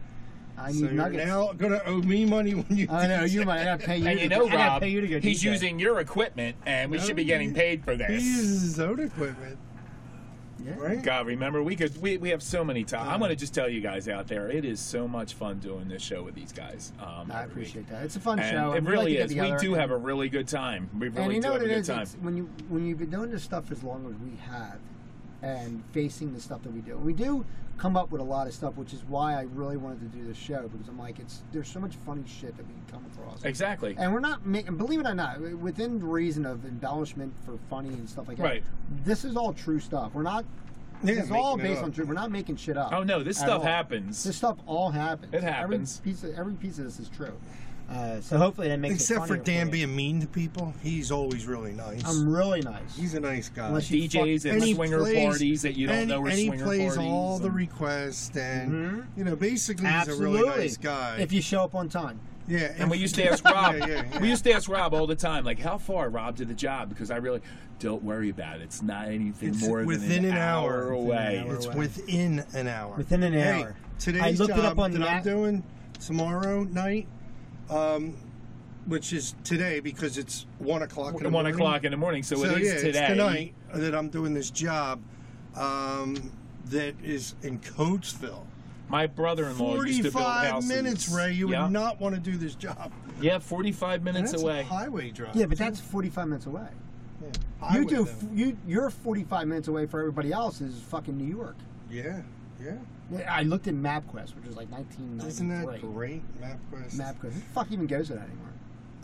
Speaker 2: I
Speaker 4: so
Speaker 2: need
Speaker 4: you're
Speaker 2: nuggets. Oh,
Speaker 4: now gonna owe me money when you.
Speaker 2: I know you might. I gotta pay you.
Speaker 3: And you
Speaker 2: to-
Speaker 3: know,
Speaker 2: I gotta
Speaker 3: Rob,
Speaker 2: pay you to go
Speaker 3: he's
Speaker 2: DJ.
Speaker 3: using your equipment, and we
Speaker 4: No,
Speaker 3: should be getting
Speaker 4: he-
Speaker 3: paid for
Speaker 4: He
Speaker 3: this.
Speaker 4: uses his own equipment,
Speaker 2: Yeah.
Speaker 4: right?
Speaker 3: God, remember we could we, we have so many times. I'm
Speaker 2: Uh.
Speaker 3: gonna just tell you guys out there, it is so much fun doing this show with these guys. Um,
Speaker 2: I
Speaker 3: every week.
Speaker 2: appreciate that. It's a fun
Speaker 3: And
Speaker 2: show.
Speaker 3: it
Speaker 2: and we like
Speaker 3: really
Speaker 2: to get
Speaker 3: is. We
Speaker 2: together
Speaker 3: do
Speaker 2: and-
Speaker 3: have a really good time. We really
Speaker 2: and you know
Speaker 3: do
Speaker 2: what
Speaker 3: have a
Speaker 2: it
Speaker 3: good
Speaker 2: is?
Speaker 3: time.
Speaker 2: It's when you when you've been doing this stuff as long as we have, and facing the stuff that we do, we do come up with a lot of stuff, which is why I really wanted to do this show because I'm like, it's there's so much funny shit that we come across.
Speaker 3: Exactly.
Speaker 2: And we're not making, believe it or not, within reason of embellishment for funny and stuff like that.
Speaker 3: Right.
Speaker 2: This is all true stuff. We're not.
Speaker 4: Yeah,
Speaker 2: this is all
Speaker 4: making it
Speaker 2: based
Speaker 4: up.
Speaker 2: on true. We're not making shit up.
Speaker 3: Oh no, this
Speaker 2: at
Speaker 3: stuff
Speaker 2: all.
Speaker 3: happens.
Speaker 2: This stuff all happens.
Speaker 3: It happens.
Speaker 2: Every piece of every piece of this is true. Uh, so hopefully that makes it
Speaker 4: Except for
Speaker 2: funnier
Speaker 4: Dan
Speaker 2: you.
Speaker 4: being mean to people, he's always really nice.
Speaker 2: I'm really nice.
Speaker 4: he's a nice guy.
Speaker 2: Um, Unless you
Speaker 3: DJs
Speaker 4: And
Speaker 3: at
Speaker 4: he
Speaker 3: swinger
Speaker 4: plays-
Speaker 3: parties that you don't
Speaker 4: and,
Speaker 3: know are
Speaker 4: and he
Speaker 3: swinger
Speaker 4: plays
Speaker 3: parties.
Speaker 4: all the
Speaker 3: and-
Speaker 4: requests, and
Speaker 2: Mhm.
Speaker 4: you know, basically,
Speaker 2: Absolutely.
Speaker 4: he's a really nice guy.
Speaker 2: If you show up on time.
Speaker 4: yeah,
Speaker 3: And we used to ask Rob.
Speaker 4: Yeah, yeah, yeah.
Speaker 3: We used to ask Rob all the time, like, "How far, Rob, to the job?" Because I really don't worry about it. It's not anything
Speaker 4: It's
Speaker 3: more
Speaker 4: within
Speaker 3: than
Speaker 4: an hour.
Speaker 3: away.
Speaker 2: Within an hour.
Speaker 4: It's within an hour.
Speaker 2: Within an
Speaker 4: Hey,
Speaker 2: hour.
Speaker 4: Today's
Speaker 2: I looked
Speaker 4: job
Speaker 2: it up on
Speaker 4: that
Speaker 2: the
Speaker 4: I'm
Speaker 2: app.
Speaker 4: doing tomorrow night, um, which is today because it's one o'clock. In the
Speaker 3: At one
Speaker 4: morning.
Speaker 3: o'clock in the morning, so,
Speaker 4: So
Speaker 3: it is
Speaker 4: yeah,
Speaker 3: today.
Speaker 4: it's tonight that I'm doing this job um, that is in Coatesville.
Speaker 3: My brother-in-law used to build
Speaker 4: Forty-five
Speaker 3: houses.
Speaker 4: minutes, Ray. You
Speaker 3: yeah.
Speaker 4: would not want to do this job.
Speaker 3: Yeah, forty-five
Speaker 4: And
Speaker 3: minutes
Speaker 4: that's
Speaker 3: away.
Speaker 4: a highway drive.
Speaker 2: Yeah, but that's 45 minutes away.
Speaker 4: Yeah.
Speaker 2: You
Speaker 4: Highway,
Speaker 2: do.
Speaker 4: though.
Speaker 2: You you're 45 minutes away for everybody else is fucking New York.
Speaker 4: Yeah, yeah.
Speaker 2: I looked at MapQuest, which was like 1993.
Speaker 4: Isn't that great, MapQuest?
Speaker 2: MapQuest. Who the fuck even goes to that anymore?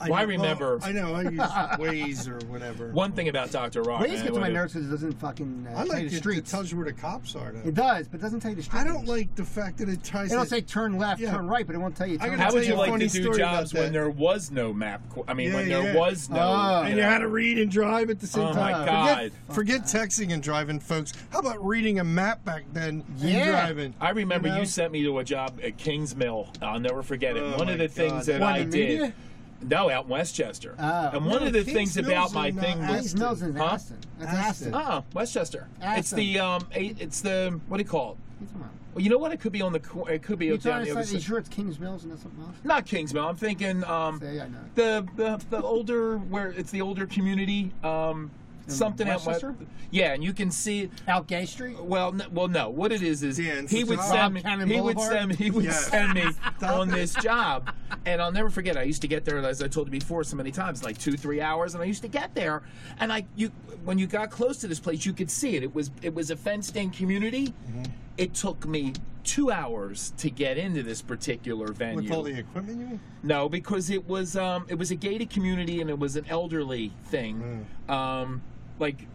Speaker 4: I
Speaker 3: Well, I
Speaker 4: know-
Speaker 3: remember-
Speaker 4: I know. I use Waze or whatever.
Speaker 3: One thing about Doctor Rock.
Speaker 2: Waze
Speaker 3: man,
Speaker 2: gets on my
Speaker 3: what it-
Speaker 2: nerves because it doesn't fucking uh,
Speaker 4: I
Speaker 2: tell
Speaker 4: like
Speaker 2: you
Speaker 4: it.
Speaker 2: the
Speaker 4: It
Speaker 2: streets.
Speaker 4: tells you where the cops are. Though.
Speaker 2: It does, but it doesn't tell you the streets.
Speaker 4: I don't like the fact that it ties.
Speaker 2: It'll
Speaker 4: it-
Speaker 2: say turn left,
Speaker 4: Yeah.
Speaker 2: turn right, but it won't tell you.
Speaker 4: I
Speaker 2: Turn
Speaker 4: gotta
Speaker 3: How
Speaker 2: left.
Speaker 3: would
Speaker 4: tell
Speaker 3: you
Speaker 4: you a
Speaker 3: like
Speaker 4: funny
Speaker 3: to do
Speaker 4: story about
Speaker 3: jobs when
Speaker 4: that.
Speaker 3: there was no map? qu- I mean,
Speaker 4: Yeah,
Speaker 3: when there
Speaker 4: yeah.
Speaker 3: was no.
Speaker 2: Ah.
Speaker 4: And you had to read and drive at the same
Speaker 3: Oh my
Speaker 4: time.
Speaker 3: God.
Speaker 4: Forget, forget texting and driving, folks. How about reading a map back then
Speaker 2: Yeah.
Speaker 4: and driving?
Speaker 3: I remember you,
Speaker 4: know?
Speaker 3: sent me to a job at Kings Mill. I'll never forget it.
Speaker 4: Oh
Speaker 3: One
Speaker 4: my
Speaker 3: of the
Speaker 4: God.
Speaker 3: things that
Speaker 2: What,
Speaker 3: I
Speaker 2: in
Speaker 3: did.
Speaker 2: media?
Speaker 3: No, out in Westchester.
Speaker 2: Oh.
Speaker 3: and one
Speaker 4: No,
Speaker 3: of the
Speaker 4: Kings
Speaker 3: things
Speaker 4: Mill's
Speaker 3: about my
Speaker 4: in, uh,
Speaker 3: thing was
Speaker 2: Waze Mills in
Speaker 3: Huh?
Speaker 2: Aston. That's Aston.
Speaker 4: Aston.
Speaker 3: Ah, Westchester. It's
Speaker 2: Aston.
Speaker 3: the um, eight, it's the what do you call it?
Speaker 2: What's wrong?
Speaker 3: Well, you know what? It could be on the cor- it could be
Speaker 2: You
Speaker 3: down
Speaker 2: trying
Speaker 3: the
Speaker 2: to
Speaker 3: other
Speaker 2: say? You
Speaker 3: side.
Speaker 2: sure it's Kings Mills and that's something else?
Speaker 3: Not Kingsmill. I'm thinking um,
Speaker 2: Say I know.
Speaker 3: the, the the older where it's the older community. Um, something out west.
Speaker 2: Westchester?
Speaker 3: Yeah, and you can see
Speaker 2: Out Gay Street.
Speaker 3: Well, n well, no. What it is is
Speaker 4: Dan,
Speaker 3: he would
Speaker 4: Rob
Speaker 3: send me.
Speaker 2: Cannon
Speaker 3: He would
Speaker 2: Boulevard?
Speaker 3: send me. He would
Speaker 4: Yes.
Speaker 3: send me on this job, and I'll never forget. I used to get there, as I told you before, so many times, like two, three hours, and I used to get there, and I you when you got close to this place, you could see it. It was it was a fenced-in community.
Speaker 4: Mm-hmm.
Speaker 3: It took me two hours to get into this particular venue.
Speaker 4: With all the equipment, you mean?
Speaker 3: No, because it was um, it was a gated community and it was an elderly thing, um, like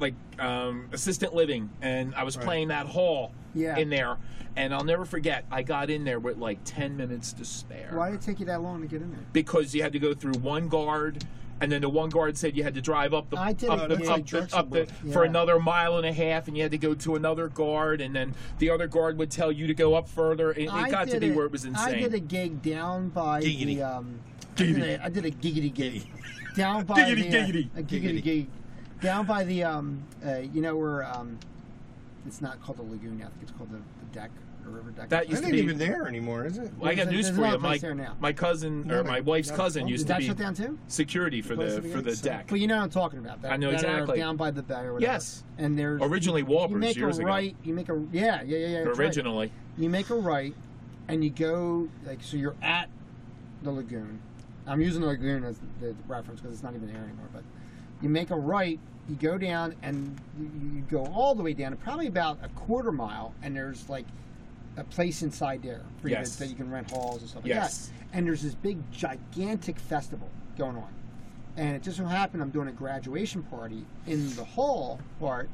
Speaker 3: like um, assistant living, and I was playing that hall
Speaker 2: Yeah.
Speaker 3: in there, and I'll never forget. I got in there with like ten minutes to spare
Speaker 2: Why did it take you that long to get in there?
Speaker 3: because you had to go through one guard. And then the one guard said you had to drive up the
Speaker 2: I did
Speaker 3: up
Speaker 2: it,
Speaker 3: the,
Speaker 2: yeah.
Speaker 3: up the, up the
Speaker 2: Yeah.
Speaker 3: for another mile and a half, and you had to go to another guard, and then the other guard would tell you to go up further. It, it
Speaker 2: I
Speaker 3: got to
Speaker 2: did
Speaker 3: be
Speaker 2: a-
Speaker 3: where it was insane.
Speaker 2: I did a gig down by
Speaker 4: Giggity.
Speaker 2: the. Um, I did a- I did a giggity gig. Down by
Speaker 3: Giggity,
Speaker 2: the, uh,
Speaker 3: giggity.
Speaker 2: a giggity
Speaker 4: Giggity.
Speaker 2: gig. Down by the um, uh, you know where um, it's not called the lagoon. I think it's called the, the deck or river deck.
Speaker 3: That
Speaker 4: It
Speaker 3: used
Speaker 4: ain't
Speaker 3: to be-
Speaker 4: even there anymore, is it?
Speaker 3: Well, I got
Speaker 2: There's a-
Speaker 3: news
Speaker 2: there's
Speaker 3: for
Speaker 2: another
Speaker 3: you. My,
Speaker 2: place there now.
Speaker 3: my cousin
Speaker 4: No,
Speaker 3: or
Speaker 4: no,
Speaker 3: my wife's
Speaker 4: no.
Speaker 3: cousin
Speaker 4: Oh,
Speaker 2: Did
Speaker 3: used to
Speaker 2: that
Speaker 3: be
Speaker 2: shut down too?
Speaker 3: security for
Speaker 4: Place
Speaker 3: the
Speaker 4: of the
Speaker 3: for the
Speaker 4: Yanks,
Speaker 3: deck.
Speaker 2: But you know what I'm talking about. That,
Speaker 3: I know
Speaker 2: that area
Speaker 3: exactly.
Speaker 2: Down by the bay or whatever.
Speaker 3: Yes.
Speaker 2: And there's
Speaker 3: Originally
Speaker 2: you
Speaker 3: Whopper's
Speaker 2: make a
Speaker 3: years ago.
Speaker 2: right. You make a yeah yeah yeah yeah. that's right.
Speaker 3: Originally,
Speaker 2: you make a right and you go like so you're at the lagoon i'm using the lagoon as the reference because it's not even there anymore but you make a right you go down and you, you go all the way down probably about a quarter mile and there's like a place inside there for
Speaker 3: Yes.
Speaker 2: you to, that you can rent halls and stuff like
Speaker 3: Yes.
Speaker 2: that and there's this big gigantic festival going on and it just so happened i'm doing a graduation party in the hall part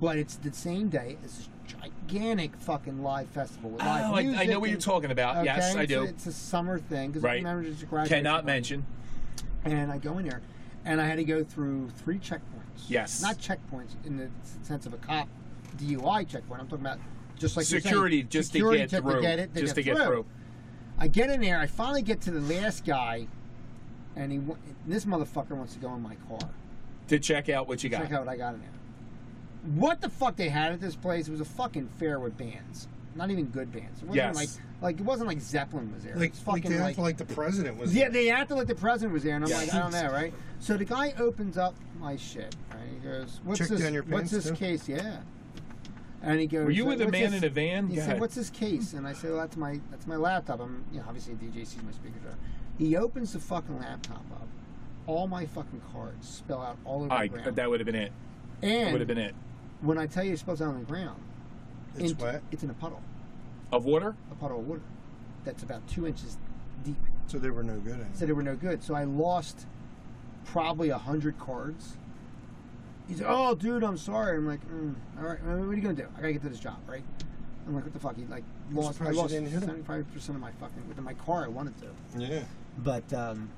Speaker 2: but it's the same day as this gigantic fucking live festival with
Speaker 3: oh,
Speaker 2: live
Speaker 3: I, I
Speaker 2: music
Speaker 3: know what you're
Speaker 2: and-
Speaker 3: talking about.
Speaker 2: okay,
Speaker 3: yes, I
Speaker 2: it's a-
Speaker 3: do.
Speaker 2: It's a, summer thing because
Speaker 3: Right.
Speaker 2: remember it's a graduation
Speaker 3: Cannot
Speaker 2: party.
Speaker 3: mention.
Speaker 2: And I go in there, and I had to go through three checkpoints.
Speaker 3: Yes.
Speaker 2: not checkpoints in the sense of a cop DUI checkpoint. I'm talking about just like you're saying,
Speaker 3: Security just to
Speaker 2: security
Speaker 3: get
Speaker 2: check
Speaker 3: through.
Speaker 2: it,
Speaker 3: Just to get through.
Speaker 2: I get in there. I finally get to the last guy, and he wa- this motherfucker wants to go in my car.
Speaker 3: To check out what you got.
Speaker 2: Check out what I got in there. What the fuck they had at this place? It was a fucking fair with bands. Not even good bands. It wasn't
Speaker 3: Yes.
Speaker 2: like like it wasn't like Zeppelin was there. It
Speaker 4: Like,
Speaker 2: was
Speaker 4: like
Speaker 2: fucking
Speaker 4: they act like the president was.
Speaker 2: yeah,
Speaker 4: there.
Speaker 2: they acted like the president was there, and I'm
Speaker 3: Yeah.
Speaker 2: like, I don't know, right? So the guy opens up my shit, right? He goes, "What's
Speaker 4: Check
Speaker 2: this?
Speaker 4: down your
Speaker 2: what's
Speaker 4: pants,
Speaker 2: this
Speaker 4: too?"
Speaker 2: case?" Yeah. And he goes,
Speaker 3: Were you with a
Speaker 2: "What's
Speaker 3: man
Speaker 2: this?"
Speaker 3: in a van?
Speaker 2: He
Speaker 3: Go
Speaker 2: said,
Speaker 3: ahead.
Speaker 2: "What's this case?" And I said, "Well, that's my that's my laptop. I'm you know, obviously a DJ sees my speakers are." He opens the fucking laptop up. All my fucking cards spill out all over
Speaker 3: I,
Speaker 2: the ground.
Speaker 3: that would have been it.
Speaker 2: and
Speaker 3: Would have been it.
Speaker 2: when I tell you it spills out on the ground,
Speaker 4: It's
Speaker 2: into-
Speaker 4: wet,
Speaker 2: It's in a puddle,
Speaker 3: Of water?
Speaker 2: a puddle of water that's about two inches deep.
Speaker 4: so they were no good at it.
Speaker 2: said they were no good. So I lost probably a hundred cards. He's like, "Oh, dude, I'm sorry." I'm like, mm, "All right, what are you gonna do? I gotta get to this job, right?" I'm like, "What the fuck?" He like lost. I
Speaker 4: surprised you
Speaker 2: lost
Speaker 4: didn't hit him.
Speaker 2: seventy-five percent of my fucking within my car. I wanted to,
Speaker 4: Yeah.
Speaker 2: But um,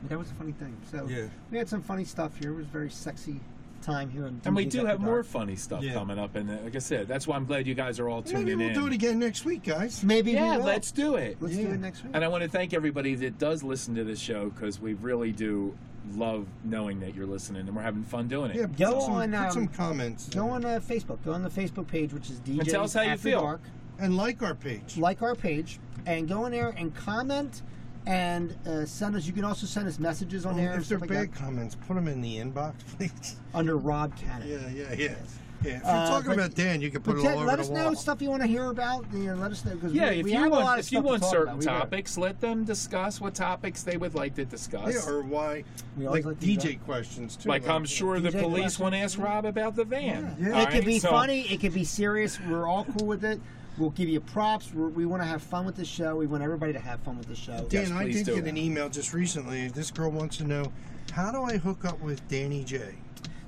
Speaker 2: but that was a funny thing. So
Speaker 6: Yeah.
Speaker 2: we had some funny stuff here. It was a very sexy time here. on
Speaker 3: And we
Speaker 2: DJs
Speaker 3: do
Speaker 2: After
Speaker 3: have more
Speaker 2: Dark.
Speaker 3: funny stuff
Speaker 6: Yeah.
Speaker 3: coming up, and uh, like I said, that's why I'm glad you guys are all tuning
Speaker 4: Maybe we'll
Speaker 3: in.
Speaker 4: do it again next week, guys.
Speaker 2: Maybe we
Speaker 3: Yeah,
Speaker 2: will.
Speaker 3: let's do it.
Speaker 2: Let's do
Speaker 4: Yeah.
Speaker 2: it next week.
Speaker 3: And I want to thank everybody that does listen to this show because we really do love knowing that you're listening and we're having fun doing it.
Speaker 4: Yeah,
Speaker 2: Go
Speaker 4: put some,
Speaker 2: on,
Speaker 4: put
Speaker 2: um,
Speaker 4: some comments
Speaker 2: Go
Speaker 4: there.
Speaker 2: on uh, Facebook. Go on the Facebook page, which is DJs
Speaker 3: tell us how you
Speaker 2: After
Speaker 3: feel.
Speaker 2: Dark.
Speaker 4: and like our page.
Speaker 2: Like our page and go in there and comment and uh, send us. You can also send us messages on
Speaker 4: Um,
Speaker 2: there and
Speaker 4: if they're
Speaker 2: stuff like
Speaker 4: bad
Speaker 2: that,
Speaker 4: comments, put them in the inbox, please.
Speaker 2: under Rob Cannon.
Speaker 4: Yeah, yeah, yeah. Yeah, if you're
Speaker 2: Uh,
Speaker 4: talking
Speaker 2: but-
Speaker 4: about Dan, you can put
Speaker 2: But
Speaker 4: it
Speaker 2: Ted,
Speaker 4: all over
Speaker 2: let
Speaker 4: the
Speaker 2: us
Speaker 4: wall.
Speaker 2: know stuff you want to hear about. You know, let us know because
Speaker 3: Yeah,
Speaker 2: we,
Speaker 3: if
Speaker 2: we
Speaker 3: you
Speaker 2: have a lot
Speaker 3: want
Speaker 2: of
Speaker 3: if you
Speaker 2: stuff to
Speaker 3: want
Speaker 2: talk
Speaker 3: certain
Speaker 2: about. We do.
Speaker 3: topics, let them discuss what topics they would like to discuss.
Speaker 4: Yeah, or why,
Speaker 2: We always
Speaker 4: like,
Speaker 2: like to do
Speaker 4: DJ questions too.
Speaker 3: like I'm sure the
Speaker 2: DJ
Speaker 3: police
Speaker 2: questions.
Speaker 3: want to ask Rob about the van.
Speaker 4: Yeah.
Speaker 2: It
Speaker 3: All
Speaker 2: could
Speaker 3: right,
Speaker 2: be
Speaker 3: so-
Speaker 2: funny. It could be serious. We're all cool with it. We'll give you props. We're, we want to have fun with the show. We want everybody to have fun with the show.
Speaker 4: Dan,
Speaker 3: Yes,
Speaker 4: I
Speaker 3: please
Speaker 4: did
Speaker 3: do.
Speaker 4: get an email just recently. This girl wants to know, how do I hook up with Danny J?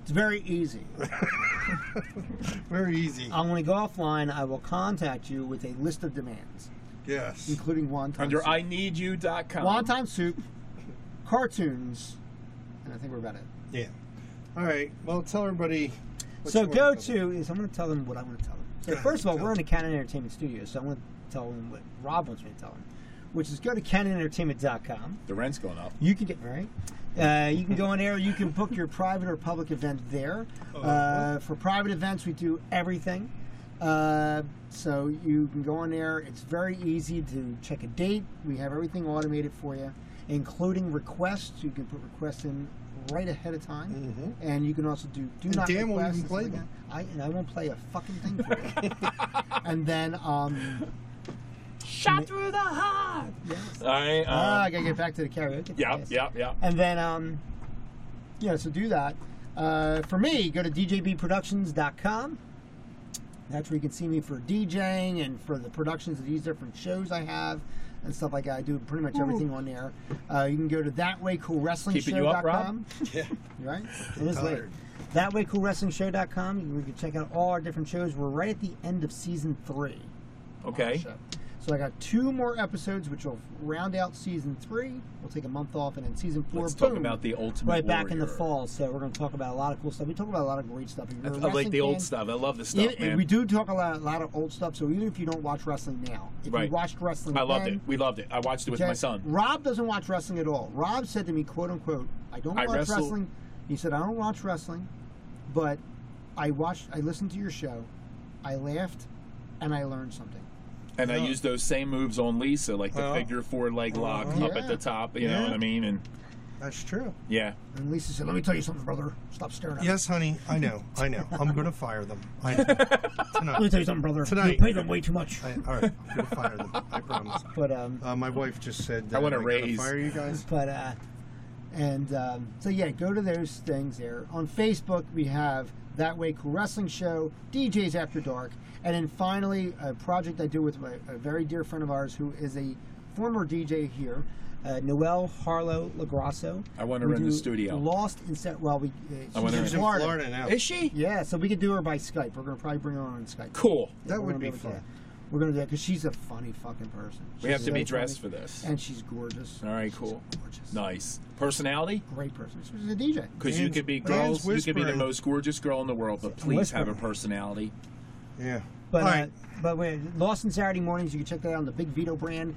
Speaker 2: It's very easy.
Speaker 4: Very easy.
Speaker 2: I'm going to go offline. I will contact you with a list of demands,
Speaker 4: yes.
Speaker 2: including wonton
Speaker 3: under
Speaker 2: soup.
Speaker 3: I need you.com.
Speaker 2: wonton soup, cartoons, and I think we're about it.
Speaker 4: Yeah. All right. Well, tell everybody. what
Speaker 2: so
Speaker 4: you
Speaker 2: go
Speaker 4: wanna tell them.
Speaker 2: to is I'm going to tell them what I want to tell them. So
Speaker 4: Go ahead,
Speaker 2: first of all,
Speaker 4: tell
Speaker 2: we're in
Speaker 4: them.
Speaker 2: the Canon Entertainment studio, so I want to tell them what Rob wants me to tell them, which is go to canonentertainment.com.
Speaker 3: The rent's going up.
Speaker 2: You can get right. Uh, you can go in there. You can book your private or public event there.
Speaker 4: Oh,
Speaker 2: Uh, for private events, we do everything. Uh, so you can go in there. It's very easy to check a date. We have everything automated for you, including requests. You can put requests in right ahead of time, and you can also do do
Speaker 4: Mm-hmm. And
Speaker 2: not
Speaker 4: Dan won't
Speaker 2: requests
Speaker 4: even
Speaker 2: and
Speaker 4: play
Speaker 2: stuff like
Speaker 4: them.
Speaker 2: that. I and I won't play a fucking thing for you. and then um,
Speaker 1: Shot through the heart.
Speaker 2: yes.
Speaker 3: All right.
Speaker 4: Uh,
Speaker 3: Um,
Speaker 2: Ah, I gotta get back to the karaoke.
Speaker 3: yeah,
Speaker 2: Yes.
Speaker 3: yeah, yeah.
Speaker 2: And then, um, yeah, so do that. Uh, for me, go to djbproductions.com. That's where you can see me for DJing and for the productions of these different shows I have and stuff like that. I do pretty much everything on there. Uh, you can go to
Speaker 3: Keeping you up, Rob?
Speaker 2: thatwaycoolwrestlingshow.com.
Speaker 4: Yeah.
Speaker 2: Right? It is late.
Speaker 4: Tired.
Speaker 2: Thatwaycoolwrestlingshow.com. You can check out all our different shows. We're right at the end of season three.
Speaker 3: Okay.
Speaker 2: Show. So I got two more episodes, which will round out season three. We'll take a month off, and then season 4
Speaker 3: Let's talk
Speaker 2: boom,
Speaker 3: about the ultimate
Speaker 2: right back in the
Speaker 3: Warrior.
Speaker 2: fall. So we're going to talk about a lot of cool stuff. We talk about a lot of great stuff. If
Speaker 3: I,
Speaker 2: you're a
Speaker 3: I like
Speaker 2: wrestling
Speaker 3: the old
Speaker 2: fan,
Speaker 3: stuff. I love the
Speaker 2: even-
Speaker 3: stuff,
Speaker 2: and
Speaker 3: man.
Speaker 2: we do talk a lot, a lot of old stuff. So even if you don't watch wrestling now, if
Speaker 3: Right.
Speaker 2: you watched wrestling,
Speaker 3: I loved
Speaker 2: then,
Speaker 3: it. We loved it. I watched it with
Speaker 2: okay,
Speaker 3: my son.
Speaker 2: Rob doesn't watch wrestling at all. Rob said to me, "quote unquote," I don't
Speaker 3: I
Speaker 2: watch
Speaker 3: wrestle-
Speaker 2: wrestling. He said, "I don't watch wrestling, but I watched. I listened to your show. I laughed, and I learned something."
Speaker 3: And I used those same moves on Lisa, like the
Speaker 4: Oh.
Speaker 3: figure four leg lock
Speaker 4: Uh-huh.
Speaker 3: up at the
Speaker 2: Yeah.
Speaker 3: top. You know
Speaker 4: Yeah.
Speaker 3: what I mean? And
Speaker 4: That's true.
Speaker 3: yeah,
Speaker 2: And Lisa said, "Let me tell you something, brother. Stop staring at me."
Speaker 4: Yes, honey. I know. I know. I'm gonna fire them. I know.
Speaker 2: Let me
Speaker 4: Tonight.
Speaker 2: tell you something, brother.
Speaker 4: Tonight.
Speaker 2: You pay them way too much.
Speaker 4: I, all right. I'm gonna fire them. I promise.
Speaker 2: But um,
Speaker 4: Uh, my wife just said. Uh,
Speaker 3: I want a
Speaker 4: "Am gonna
Speaker 3: raise."
Speaker 4: Fire you guys.
Speaker 2: but uh, and um, so yeah, go to those things there. On Facebook, we have that way cool wrestling show, DJs After Dark, and then finally a project I do with my, a very dear friend of ours who is a former DJ here. Uh, Noel Harlow Lagrasso.
Speaker 3: I want her
Speaker 2: We
Speaker 3: in the
Speaker 2: do
Speaker 3: studio.
Speaker 2: Lost in set. Well, we. Uh,
Speaker 3: I want her
Speaker 2: she's
Speaker 4: She's
Speaker 2: in
Speaker 4: in
Speaker 2: Florida.
Speaker 4: Florida now.
Speaker 3: is she
Speaker 2: Yeah, so we could do her by Skype. We're gonna probably bring her on, on Skype.
Speaker 3: cool?
Speaker 4: That
Speaker 2: We're
Speaker 4: would
Speaker 2: gonna
Speaker 4: be
Speaker 2: able to do
Speaker 4: fun.
Speaker 2: that. We're gonna do that because she's a funny fucking person.
Speaker 3: We have
Speaker 2: She's
Speaker 3: to be
Speaker 2: so
Speaker 3: dressed
Speaker 2: funny,
Speaker 3: for this.
Speaker 2: And she's gorgeous.
Speaker 3: All right,
Speaker 2: She's
Speaker 3: cool.
Speaker 2: gorgeous.
Speaker 3: Nice personality,
Speaker 2: Great person. She was a DJ.
Speaker 3: because you
Speaker 4: Man's-
Speaker 3: could be
Speaker 4: man's
Speaker 3: girls. You could be the
Speaker 4: whispering.
Speaker 3: most gorgeous girl in the world, but please have a
Speaker 2: whispering.
Speaker 3: personality.
Speaker 4: Yeah.
Speaker 2: But
Speaker 4: All
Speaker 2: uh,
Speaker 4: right.
Speaker 2: but we're Lost in Saturday mornings. You can check that out on the Big Vito brand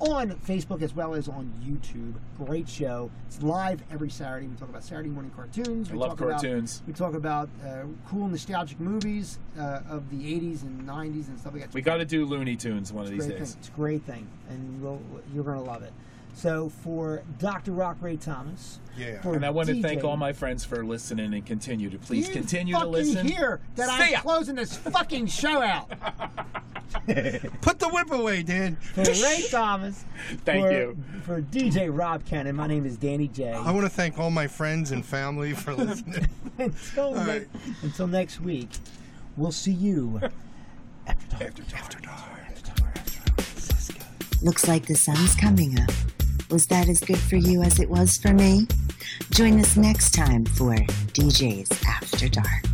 Speaker 2: on Facebook as well as on YouTube. Great show. It's live every Saturday. We talk about Saturday morning cartoons.
Speaker 3: I
Speaker 2: We
Speaker 3: love
Speaker 2: talk about-
Speaker 3: cartoons.
Speaker 2: we talk about uh, cool nostalgic movies uh, of the '80s and '90s and stuff like that.
Speaker 3: We got to do Looney Tunes one of these
Speaker 2: great
Speaker 3: days.
Speaker 2: Thing. It's a great thing, and we'll, you're going to love it. So for Dr. Rock Ray Thomas,
Speaker 4: Yeah.
Speaker 2: for
Speaker 3: And I want to
Speaker 2: DJ
Speaker 3: thank all my friends for listening and continue to please
Speaker 2: you
Speaker 3: continue to
Speaker 2: fucking
Speaker 3: listen.
Speaker 2: Hear that
Speaker 3: See
Speaker 2: I'm
Speaker 3: ya.
Speaker 2: closing this fucking show out.
Speaker 4: Put the whip away, Dan.
Speaker 2: For Ray Thomas.
Speaker 3: Thank
Speaker 2: for,
Speaker 3: you.
Speaker 2: For DJ Rob Cannon, my name is Danny J.
Speaker 4: I want to thank all my friends and family for listening.
Speaker 2: until, ne-
Speaker 4: right.
Speaker 2: until next week, we'll see you after dark.
Speaker 1: Looks like the sun's coming up. Was that as good for you as it was for me? Join us next time for DJs After Dark.